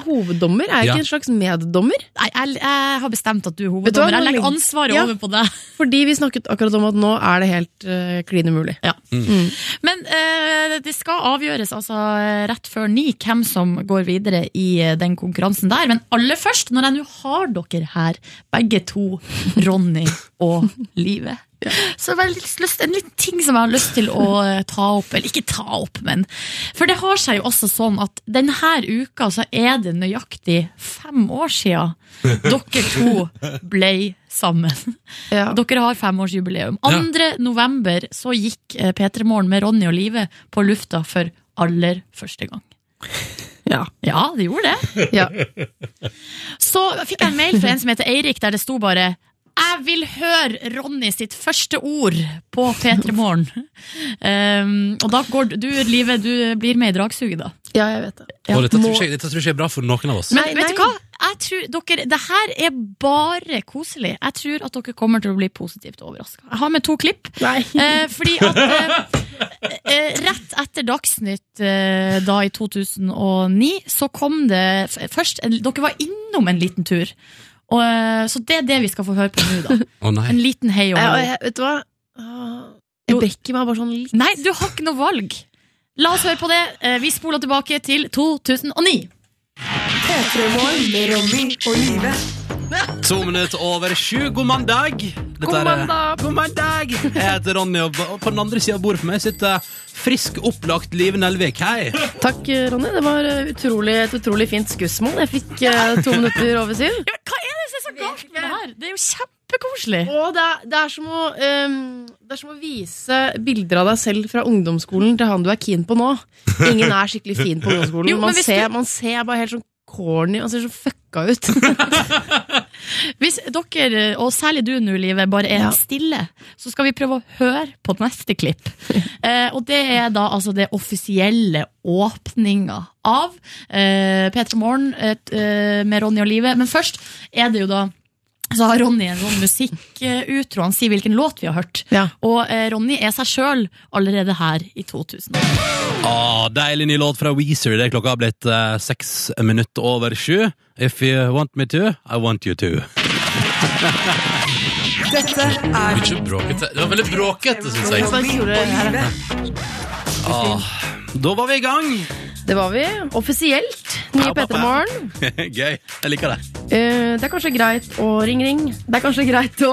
D: hoveddommer?
M: Er jeg ikke Ja. en
D: slags meddommer? Nei, jeg, jeg har bestemt at du er
M: Vet du hva,
D: hoveddommer. Jeg
M: nå
D: legger
M: legger-
D: ansvaret
M: Ja.
D: over på deg.
M: Fordi vi snakket akkurat om at nå er det helt uh, klin umulig. Mm.
D: Men eh, det skal avgjøres altså, eh, rett før ni hvem som går videre i eh, den konkurransen der. Men aller først, når jeg nå har dere her, begge to, Ronny og Live. Så det er litt lyst, en liten ting som jeg har lyst til å eh, ta opp, eller ikke ta opp, men For det har seg jo også sånn at denne uka så er det nøyaktig fem år sia dere to ble sammen. Dere har femårsjubileum. 2. november så gikk P3 Morgen med Ronny og Live på lufta for aller første gang.
M: Ja.
D: Ja, det gjorde det. Så fikk jeg en mail fra en som heter Eirik, der det sto bare jeg vil høre Ronny sitt første ord på P3 Morgen. Um, og da går du, Live, du blir med i dragsuget, da.
M: Ja, jeg vet det.
C: Og dette tror, ikke, jeg- dette tror ikke jeg er bra for noen av oss.
D: Men vet du hva? Jeg tror dere, det her er bare koselig. Jeg tror at dere kommer til å bli positivt overraska. Jeg har med to klipp. Eh, fordi at eh, eh, rett etter Dagsnytt eh, da i 2009, så kom det f- først en, Dere var innom en liten tur. Og, eh, så det er det vi skal få høre på nå, da.
C: Å nei.
D: En liten hei og
M: Jeg,
D: hallo.
M: jeg, vet du hva? Åh, Jeg brekker meg bare sånn litt.
D: Nei, du har ikke noe valg. La oss høre på det. Eh, Vi spoler tilbake til 2009.
B: P3 Morgen med Ronny og Live.
C: To minutter over sju, god mandag. Dette er- God mandag! Jeg heter Ronny, og og på den andre sida av bordet for meg sitter frisk, opplagt Live Nelvik. Hei!
M: Takk, Ronny. Det var eh, utrolig, et utrolig fint skussmål. Jeg fikk eh, to minutter over syv.
D: Hva er det som er så galt med det her? Det er jo kjempekoselig.
M: Og det er, det, er som å, ehm, det er som å vise bilder av deg selv fra ungdomsskolen til han du er keen på nå. Ingen er skikkelig fin på ungdomsskolen.
D: Jo, men
M: man,
D: hvis
M: ser,
D: du-
M: man ser bare helt sånn corny Man ser så fucka ut.
D: Hvis dere, og særlig du nå, Live, bare er stille, så skal vi prøve å høre på neste klipp. eh, og det er da altså det offisielle åpninga av eh, P3 Morgen eh, med Ronny og Live. Men først er det jo da så har Ronny en sånn musikkutro. Han sier hvilken låt vi har hørt. Og eh, Ronny er seg sjøl allerede her i 2000.
C: Ah, deilig ny låt fra Weezer. Det er klokka har blitt eh, seks minutter over sju. If you want me to, I want you to.
B: Dette er
C: Mye bråkete. Det var veldig bråkete, syns jeg. Ah, da var vi i gang.
M: Det var vi. Offisielt. Nye P3 Morgen.
C: Gøy. Jeg liker det.
M: Eh, det er kanskje greit å ring-ring. Det er kanskje greit å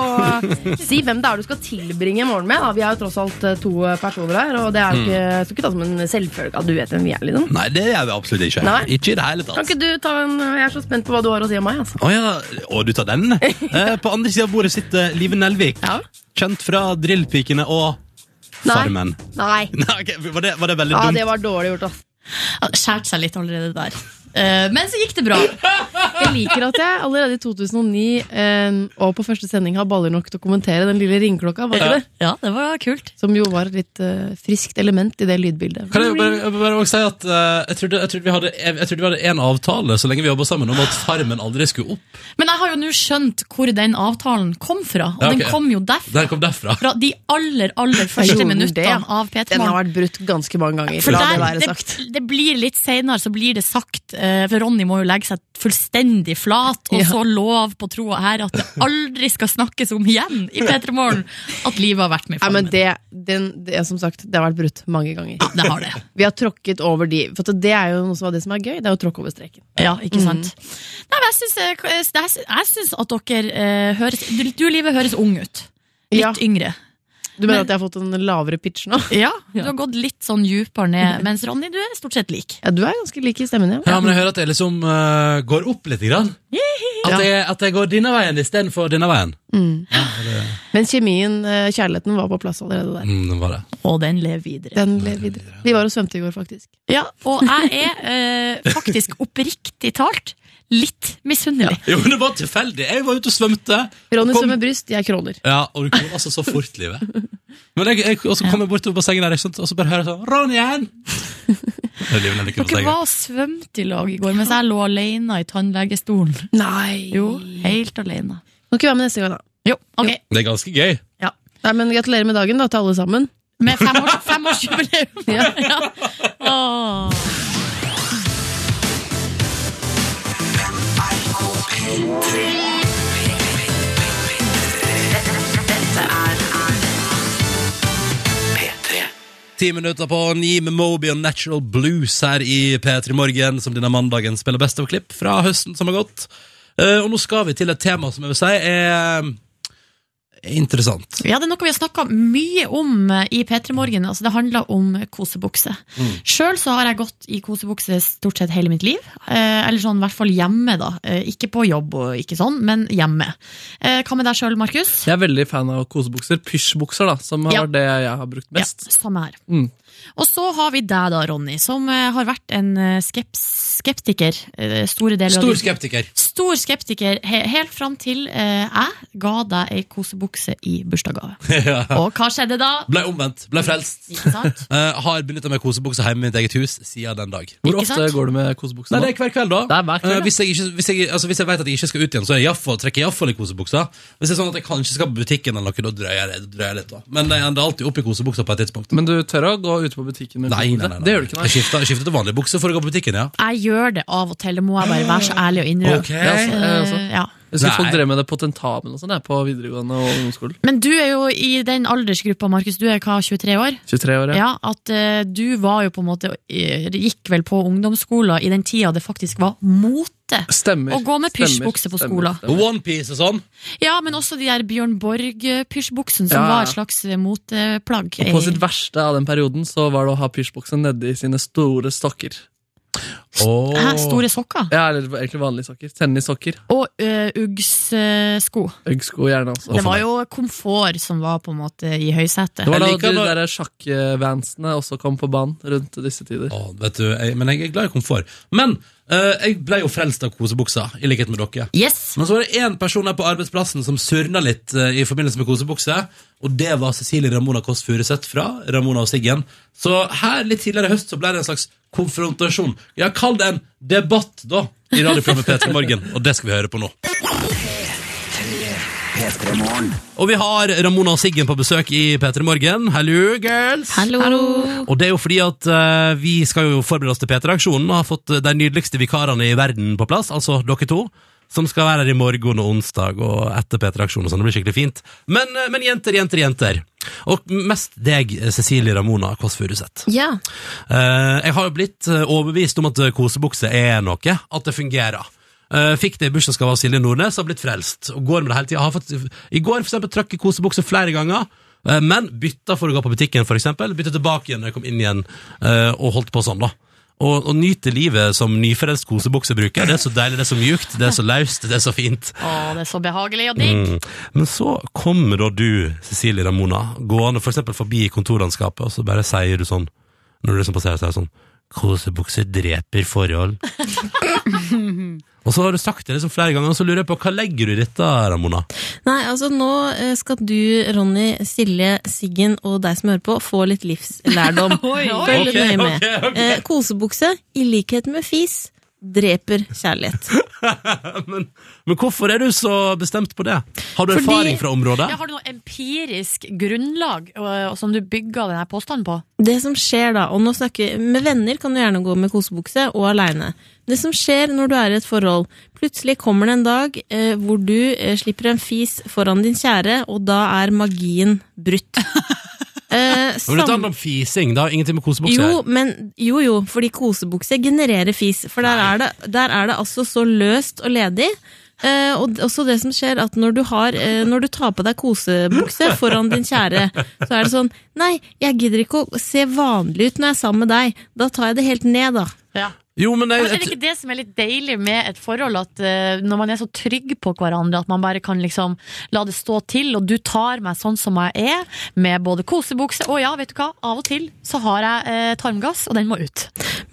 M: si hvem det er du skal tilbringe morgenen med. Da. Vi er jo tross alt eh, to personer her, og det er jo
C: Mm.
M: ikke, jeg skal ikke ta som en selvfølge at du vet hvem vi er. Liksom.
C: Nei, det gjør vi absolutt ikke.
M: Nei.
C: Ikke i det hele tatt.
M: Kan ikke du ta en eh, Jeg er så spent på hva du har å si om meg. Altså.
C: Å ja, og du tar den? Eh, på andre sida av bordet sitter Live Nelvik. Kjent fra Drillpikene og Farmen.
M: Nei.
C: Nei, ok, var, det, var det veldig
M: Ja,
C: dumt?
M: det var dårlig gjort, ass.
D: Han skjærte seg litt allerede der. Eh, men så gikk det bra.
M: Jeg liker at jeg allerede i 2009 eh, og på første sending har baller nok til å kommentere den lille ringeklokka. Var ikke
C: Ja.
M: det?
D: Ja, det var kult.
M: Som jo var et litt eh, friskt element i det lydbildet.
C: Kan jeg bare, bare også si at eh, jeg, trodde, jeg, trodde vi hadde, jeg, jeg trodde vi hadde en avtale så lenge vi jobba sammen om at Farmen aldri skulle opp.
D: Men jeg har jo nå skjønt hvor den avtalen kom fra, og
C: Ja, ok.
D: den kom jo derfra.
C: Den kom derfra.
D: Fra de aller, aller
M: Jeg
D: første
M: gjorde det,
D: minuttene
M: ja.
D: av P3
M: Den har
D: Morgen.
M: vært brutt ganske mange ganger.
D: For
M: la det
D: der,
M: være
D: det,
M: sagt.
D: det blir litt senere, så blir det sagt eh, For Ronny må jo legge seg fullstendig flat, og så lov på troa her at det aldri skal snakkes om igjen i P3 Morgen at livet har vært med i
M: Nei, men
D: formen.
M: det, den, det, er som sagt, det har vært brutt mange ganger.
D: det har det.
M: Vi har tråkket over de. For at det er jo noe som, er det som er gøy, det er å tråkke over streken.
D: Ja, ikke
M: Mm.
D: sant? Nei, men jeg syns, eh, k- jeg syns- jeg syns at dere eh, høres Du, du Live, høres ung ut. Litt yngre.
M: Du mener at jeg har fått en lavere pitch nå?
D: Ja, du har gått litt sånn dypere ned, mens Ronny, du er stort sett lik.
M: Ja, du er ganske lik i stemmen,
C: Ja, men jeg hører at jeg liksom eh, går opp litt. Grann. At, jeg, at jeg går denne veien istedenfor denne veien.
M: Mm.
C: Ja, det,
M: Men kjemien, eh, kjærligheten, var på plass allerede der.
C: mm, det var det.
D: Og den lever videre.
M: Den lever videre. Vi var og svømte i går, faktisk.
D: Ja, og jeg er eh, faktisk oppriktig talt litt misunnelig.
C: Jo, men det var tilfeldig. Jeg var ute og svømte.
M: Ronny svømmer bryst, jeg crawler.
C: Ja, og du kom altså så fort, livet. Men jeg, jeg, og så kom jeg bort til bassenget der, ikke sant, og så bare hører jeg sånn Ronny igjen! Det er livet når jeg ligger på
D: Dere
C: bassenget.
D: var og svømte i lag i går, mens jeg lå alene i tannlegestolen.
M: Nei!
D: Jo, helt alene.
M: Kan ikke være med neste gang, da.
D: Jo, ok.
C: Det er ganske gøy.
M: Nei, men Gratulerer med dagen da, til alle sammen.
D: Med femårs- femårsjubileum! ja. Åh.
C: Ti minutter på ni med Moby og Natural Blues her i P3 Morgen, som denne mandagen spiller best av klipp fra høsten som har gått. Eh, og nå skal vi til et tema som jeg vil si er er interessant.
D: Ja, det er noe vi har snakka mye om eh, i P3 Morgen. Altså, det handler om kosebukse.
C: Mm.
D: Sjøl så har jeg gått i kosebukse stort sett hele mitt liv. Eh, eller sånn i hvert fall hjemme, da. Eh, ikke på jobb og ikke sånn, men hjemme. Eh, hva med deg sjøl, Markus?
E: Jeg er veldig fan av kosebukser. Pysjbukser, da, som
D: Ja.
E: er det jeg har brukt mest.
D: Ja, samme her.
E: Mm.
D: Og så har vi deg da, Ronny, som eh, har vært en eh, skeps skeptiker. eh, Store deler
C: Stor
D: av ditt-
C: skeptiker.
D: Stor skeptiker he helt fram til eh, jeg ga deg ei kosebukse i bursdagsgave. Og hva skjedde da?
C: Ble omvendt.
E: Mm.
C: Ble frelst.
D: Ikke sant?
C: Eh, har benytta meg kosebukse hjemme i mitt eget hus siden den dag.
E: Hvor ofte går du med kosebukser
C: Nei, det er hver kveld, da. Eh,
E: kveld,
C: hvis, jeg ikke, hvis, jeg, altså, hvis jeg vet at jeg ikke skal ut igjen, så er jeg i hvert fall- trekker jeg iallfall i kosebuksa. Hvis det er sånn at jeg kanskje skal på butikken, eller noe, da drøyer jeg, det- drøyer jeg litt. da Men jeg ender alltid opp i kosebuksa på et tidspunkt.
E: Men du tør å gå ute på butikken med
C: Nei, nei, nei, nei.
E: kosebukse? Det gjør du ikke, nei.
C: Jeg skifter, jeg skifter til vanlige bukser for å gå på butikken, ja.
D: Jeg gjør det av og til, det må jeg bare være så ærlig og innrømme.
E: Ok. Ja, altså, jeg også.
D: Eh, ja.
E: Jeg husker folk
C: Nei.
E: drev med det på tentamen og sånn, jeg, på videregående og ungdomsskolen.
D: Men du er jo i den aldersgruppa, Markus. Du er hva, 23 år?
E: 23 år,
D: Ja, at eh, du var jo på en måte eh, Gikk vel på ungdomsskolen i den tida det faktisk var mote flotte. Å gå med pysjbukse på skolen.
C: Onepiece og sånn.
D: Ja, men også de der Bjørn Borg-pysjbuksene, som
E: Ja, ja.
D: var et slags eh, moteplagg.
E: Og på sitt verste av den perioden så var det å ha pysjbukse nedi sine store stokker.
D: Hæ, store sokker?
E: Ja, eller egentlig vanlige sokker. Tennissokker.
D: Og eh, Uggs-sko.
E: Øggsko gjerne også.
D: det var jo komfort som var på en måte i høysetet.
E: Det var da de der sjakkvansene også kom på banen rundt disse tider.
C: Vet du, jeg, men jeg er glad i komfort. Men eh, jeg ble jo frelst av kosebuksa, i likhet med dere. Men så var det én person her på arbeidsplassen som surna litt eh, i forbindelse med kosebukse, og det var Cecilie Ramona Kåss Furuseth fra Ramona og Siggen. Så her litt tidligere i høst så ble det en slags konfrontasjon. Ja, kall det en debatt, da, i radioprogrammet P3 Morgen, og det skal vi høre på nå. Og vi har Ramona og Siggen på besøk i P3 Morgen. Hallo, girls! Og det er jo fordi at eh, vi skal jo forberede oss til P3-aksjonen og har fått eh, de nydeligste vikarene i verden på plass, altså dere to, som skal være her i morgen og onsdag og etter P3-aksjonen og sånn. Det blir skikkelig fint. Men, eh, men jenter, jenter, jenter. Og mest deg, eh, Cecilie Ramona Kåss Furuseth.
U: Ja.
C: Eh, jeg har jo blitt eh, overbevist om at eh, kosebukse er noe, at det fungerer. Eh, fikk det i bursdagsgave av Silje Nordnes, har blitt frelst. Og går med det hele tiden. Har fått, I går for eksempel, trøkk i kosebukse flere ganger, eh, men bytta for å gå på butikken, for eksempel. Bytta tilbake igjen når jeg kom inn igjen, eh, og holdt på sånn, da. Og, og nyte livet som nyfrelst kosebuksebruker. Det er så deilig, det er så mjukt, det er så løst, det er så fint.
D: Å, det er så behagelig og digg.
C: Mm. Men så kommer da du, Cecilie Ramona, gående for eksempel forbi kontorlandskapet, og så bare sier du sånn, når du liksom passerer, så er det sånn, kosebukse dreper forhold. og så har du sagt det liksom flere ganger, og så lurer jeg på, hva legger du i dette, Ramona?
U: Nei, altså nå eh, skal du, Ronny, Silje, Siggen og deg som hører på, få litt livslærdom.
D: Oi, oi.
U: Følg litt
D: Ok,
U: nøye med.
D: ok, ok.
U: Eh, Kosebukse, i likhet med fis, dreper kjærlighet.
C: men, men hvorfor er du så bestemt på det? Har du
U: Fordi-
C: erfaring fra området?
D: Ja, har du noe empirisk grunnlag øh, som du bygger denne påstanden på?
U: Det som skjer da, og nå snakker vi med venner kan du gjerne gå med kosebukse og aleine. Det som skjer når du er i et forhold, plutselig kommer det en dag eh, hvor du eh, slipper en fis foran din kjære, og da er magien brutt. eh,
C: Men dette
U: sam-
C: handler om fising, det har ingenting med kosebukse
U: jo,
C: her.
U: men, jo, jo, fordi kosebukse genererer fis. For der er, det, der er det altså så løst og ledig. Eh, og d- også det som skjer at når du, har, eh, når du tar på deg kosebukse foran din kjære, så er det sånn Nei, jeg gidder ikke å se vanlig ut når jeg er sammen med deg. Da tar jeg det helt ned, da.
C: Jo, men
D: Ja,
C: jeg,
D: men er det ikke det som er litt deilig med et forhold, at eh, når man er så trygg på hverandre, at man bare kan liksom la det stå til, og du tar meg sånn som jeg er, med både kosebukse og ja, vet du hva, av og til så har jeg eh, tarmgass, og den må ut.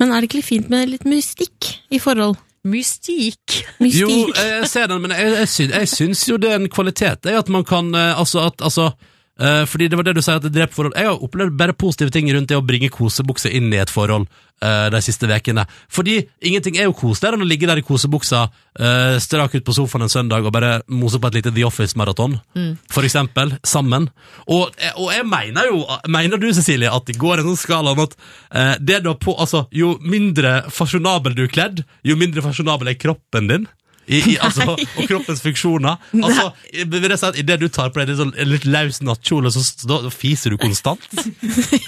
U: Men er det ikke litt fint med litt mystikk i forhold?
D: Mystikk.
C: Jo, eh, jeg ser den, men jeg, jeg, syns, jeg syns jo det er en kvalitet. Det er at man kan eh, Altså, at, altså eh, fordi det var det du sier at det dreper forhold. Jeg har opplevd bare positive ting rundt det å bringe kosebukse inn i et forhold eh, de siste ukene. Fordi ingenting er jo koseligere enn å ligge der i kosebuksa eh, strak ut på sofaen en søndag og bare mose på et lite The Office-maraton.
S: Mm.
C: For eksempel. Sammen. Og, og jeg mener jo Mener du, Cecilie, at det går en sånn skala om at eh, det da på Altså, jo mindre fasjonabel du er kledd, jo mindre fasjonabel er kroppen din. I, i, altså,
S: Nei.
C: og kroppens funksjoner. Altså, i- vil jeg si at Idet du tar på deg en sånn litt løs nattkjole, så, så da, da fiser du konstant.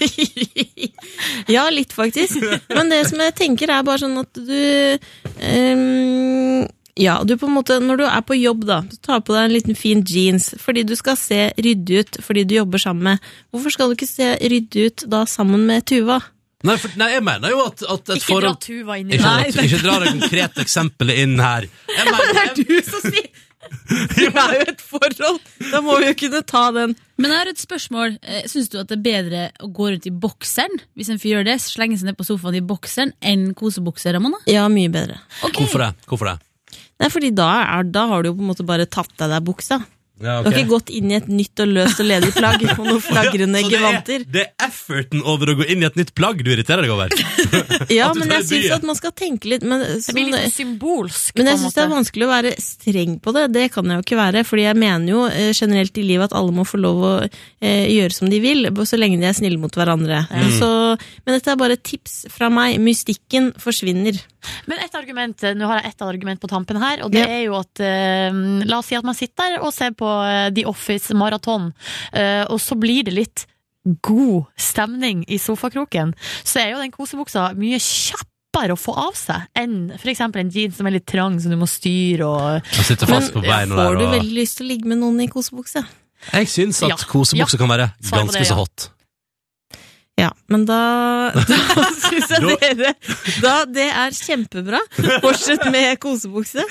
U: Ja, litt faktisk. Men det som jeg tenker er bare sånn at du ehm, Ja, du på en måte Når du er på jobb, da, så tar på deg en liten fin jeans fordi du skal se ryddig ut fordi du jobber sammen med Hvorfor skal du ikke se ryddig ut da sammen med Tuva?
C: Nei, for, nei, jeg mener jo at, at et
U: Ikke dra
C: forhold
U: Tuva inn i
C: Ikke, dra-
U: det. Nei.
C: ikke dra det konkrete eksempelet inn her. Jeg mener,
U: Det er du som sier Du er jo et forhold! Da må vi jo kunne ta den.
V: Men jeg har et spørsmål. Syns du at det er bedre å gå rundt i bokseren hvis en fyr gjør det, slenge seg ned på sofaen i bokseren, enn kosebukse, Ramona?
U: Ja, mye bedre.
C: Hvorfor det? Hvorfor det?
U: Nei, fordi da, er, da har du jo på en måte bare tatt av deg buksa.
C: Ja,
U: Du
C: ok.
U: har ikke gått inn i et nytt og løst og ledig plagg og noen flagrende
C: Så det er-
U: gevanter.
C: Det er efforten over å gå inn i et nytt plagg du irriterer deg over.
U: Ja,
C: At du tar
U: men jeg
C: det
U: syns
C: bryet.
U: at man skal tenke litt men, sånn-
D: blir litt symbolsk,
U: Men
D: på
U: jeg
D: en
U: syns det er
D: måte.
U: vanskelig å være streng på det. Det kan jeg jo ikke være. Fordi jeg mener jo eh, generelt i livet at alle må få lov å eh, gjøre som de vil, b- så lenge de er snille mot hverandre.
D: Mm.
U: Så, men dette er bare et tips fra meg. Mystikken forsvinner.
D: Men et argument, eh, nå har jeg ett argument på tampen her, og det er jo at eh, La oss si at man sitter der og ser på eh, The Office maraton, eh, og så blir det litt god stemning i sofakroken. Så er jo den kosebuksa mye kjappere kjappere å få av seg enn f.eks. en jeans som er litt trang, som du må styre og
C: Jeg sitter fast på beina der.
U: Får du
C: og-
U: veldig lyst til å ligge med noen i kosebukse?
C: Jeg syns at
U: Ja.
C: kosebukse
U: Ja.
C: kan være
U: Svar på
C: ganske
U: det,
C: så
U: ja.
C: hot.
U: Ja, men da, da syns jeg dere da, Det er kjempebra. Fortsett med kosebukse.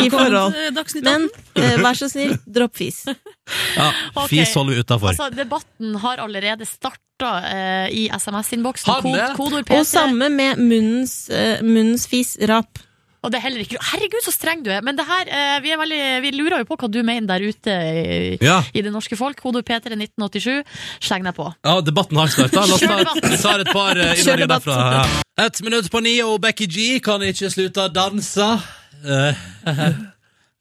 U: I forhold. Men eh, vær så snill, dropp fis.
C: Ja,
D: Ok.
C: Fis holder vi utafor.
D: Altså, debatten har allerede starta eh, i SMS-innboksen. Kod- Kodord
U: Og
D: P3.
U: samme med munnens, eh, munnens fis rap.
D: Og det er heller ikke Herregud, så streng du er! Men det her, eh, vi, er veldig, vi lurer jo på hva du mener der ute i,
C: Ja.
D: i det norske folk. Kodord P3 1987. Sleng deg på.
C: Ja, debatten har starta. La oss ta
D: Kjør debatt.
C: vi tar et par eh,
D: Kjør
C: innvendinger
D: debatt.
C: derfra. Ja. Ett minutt på ni, og Becky G kan ikke slutte å danse. Eh,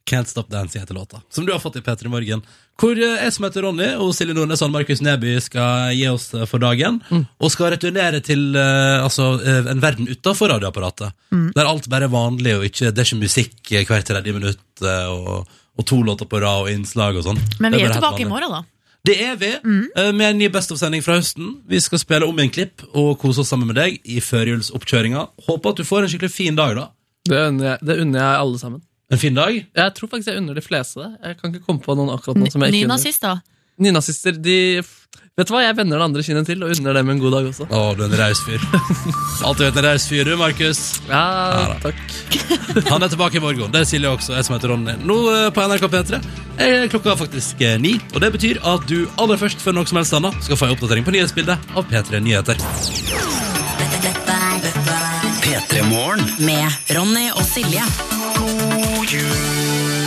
C: Can't Stop Dancing heter låta, som du har fått i P3 Morgen. Hvor eh, jeg som heter Ronny og Silje Nordnes og Markus Neby skal gi oss eh, for dagen.
D: Mm.
C: Og skal returnere til eh, altså, eh, en verden utafor radioapparatet.
W: Mm.
C: Der alt bare er vanlig, og ikke, det er ikke musikk eh, hvert tredje minutt. eh, og, og to låter på rad og innslag og sånn.
D: Men
C: Det bare
D: vi er
C: helt
D: tilbake i
C: vanlig.
D: morgen, da.
C: Det er vi, eh, med en ny Best of-sending fra høsten. Vi skal spille om en klipp og kose oss sammen med deg i førjulsoppkjøringa. Håper at du får en skikkelig fin dag, da.
E: Det unner jeg, det unner jeg alle sammen.
C: En fin dag?
E: Jeg tror faktisk jeg unner de fleste det. Jeg kan ikke komme på noen akkurat nå som jeg ikke unner.
D: Nynazister.
E: Nynazister, de Vet du hva, jeg vender det andre kinnet til og unner dem en god dag også.
C: Å, du er en raus fyr. Alltid vært en raus fyr, du, Markus.
E: Ja,
C: da. Han er tilbake i morgen. Det er Silje også. Jeg som heter Ronny. Nå eh, på NRK P3 er klokka faktisk eh, ni. Og det betyr at du aller først før noe som helst annet skal få en oppdatering på nyhetsbildet av P3 Nyheter.
W: P3 Morgen.
A: Med Ronny og Silje.
W: God jul.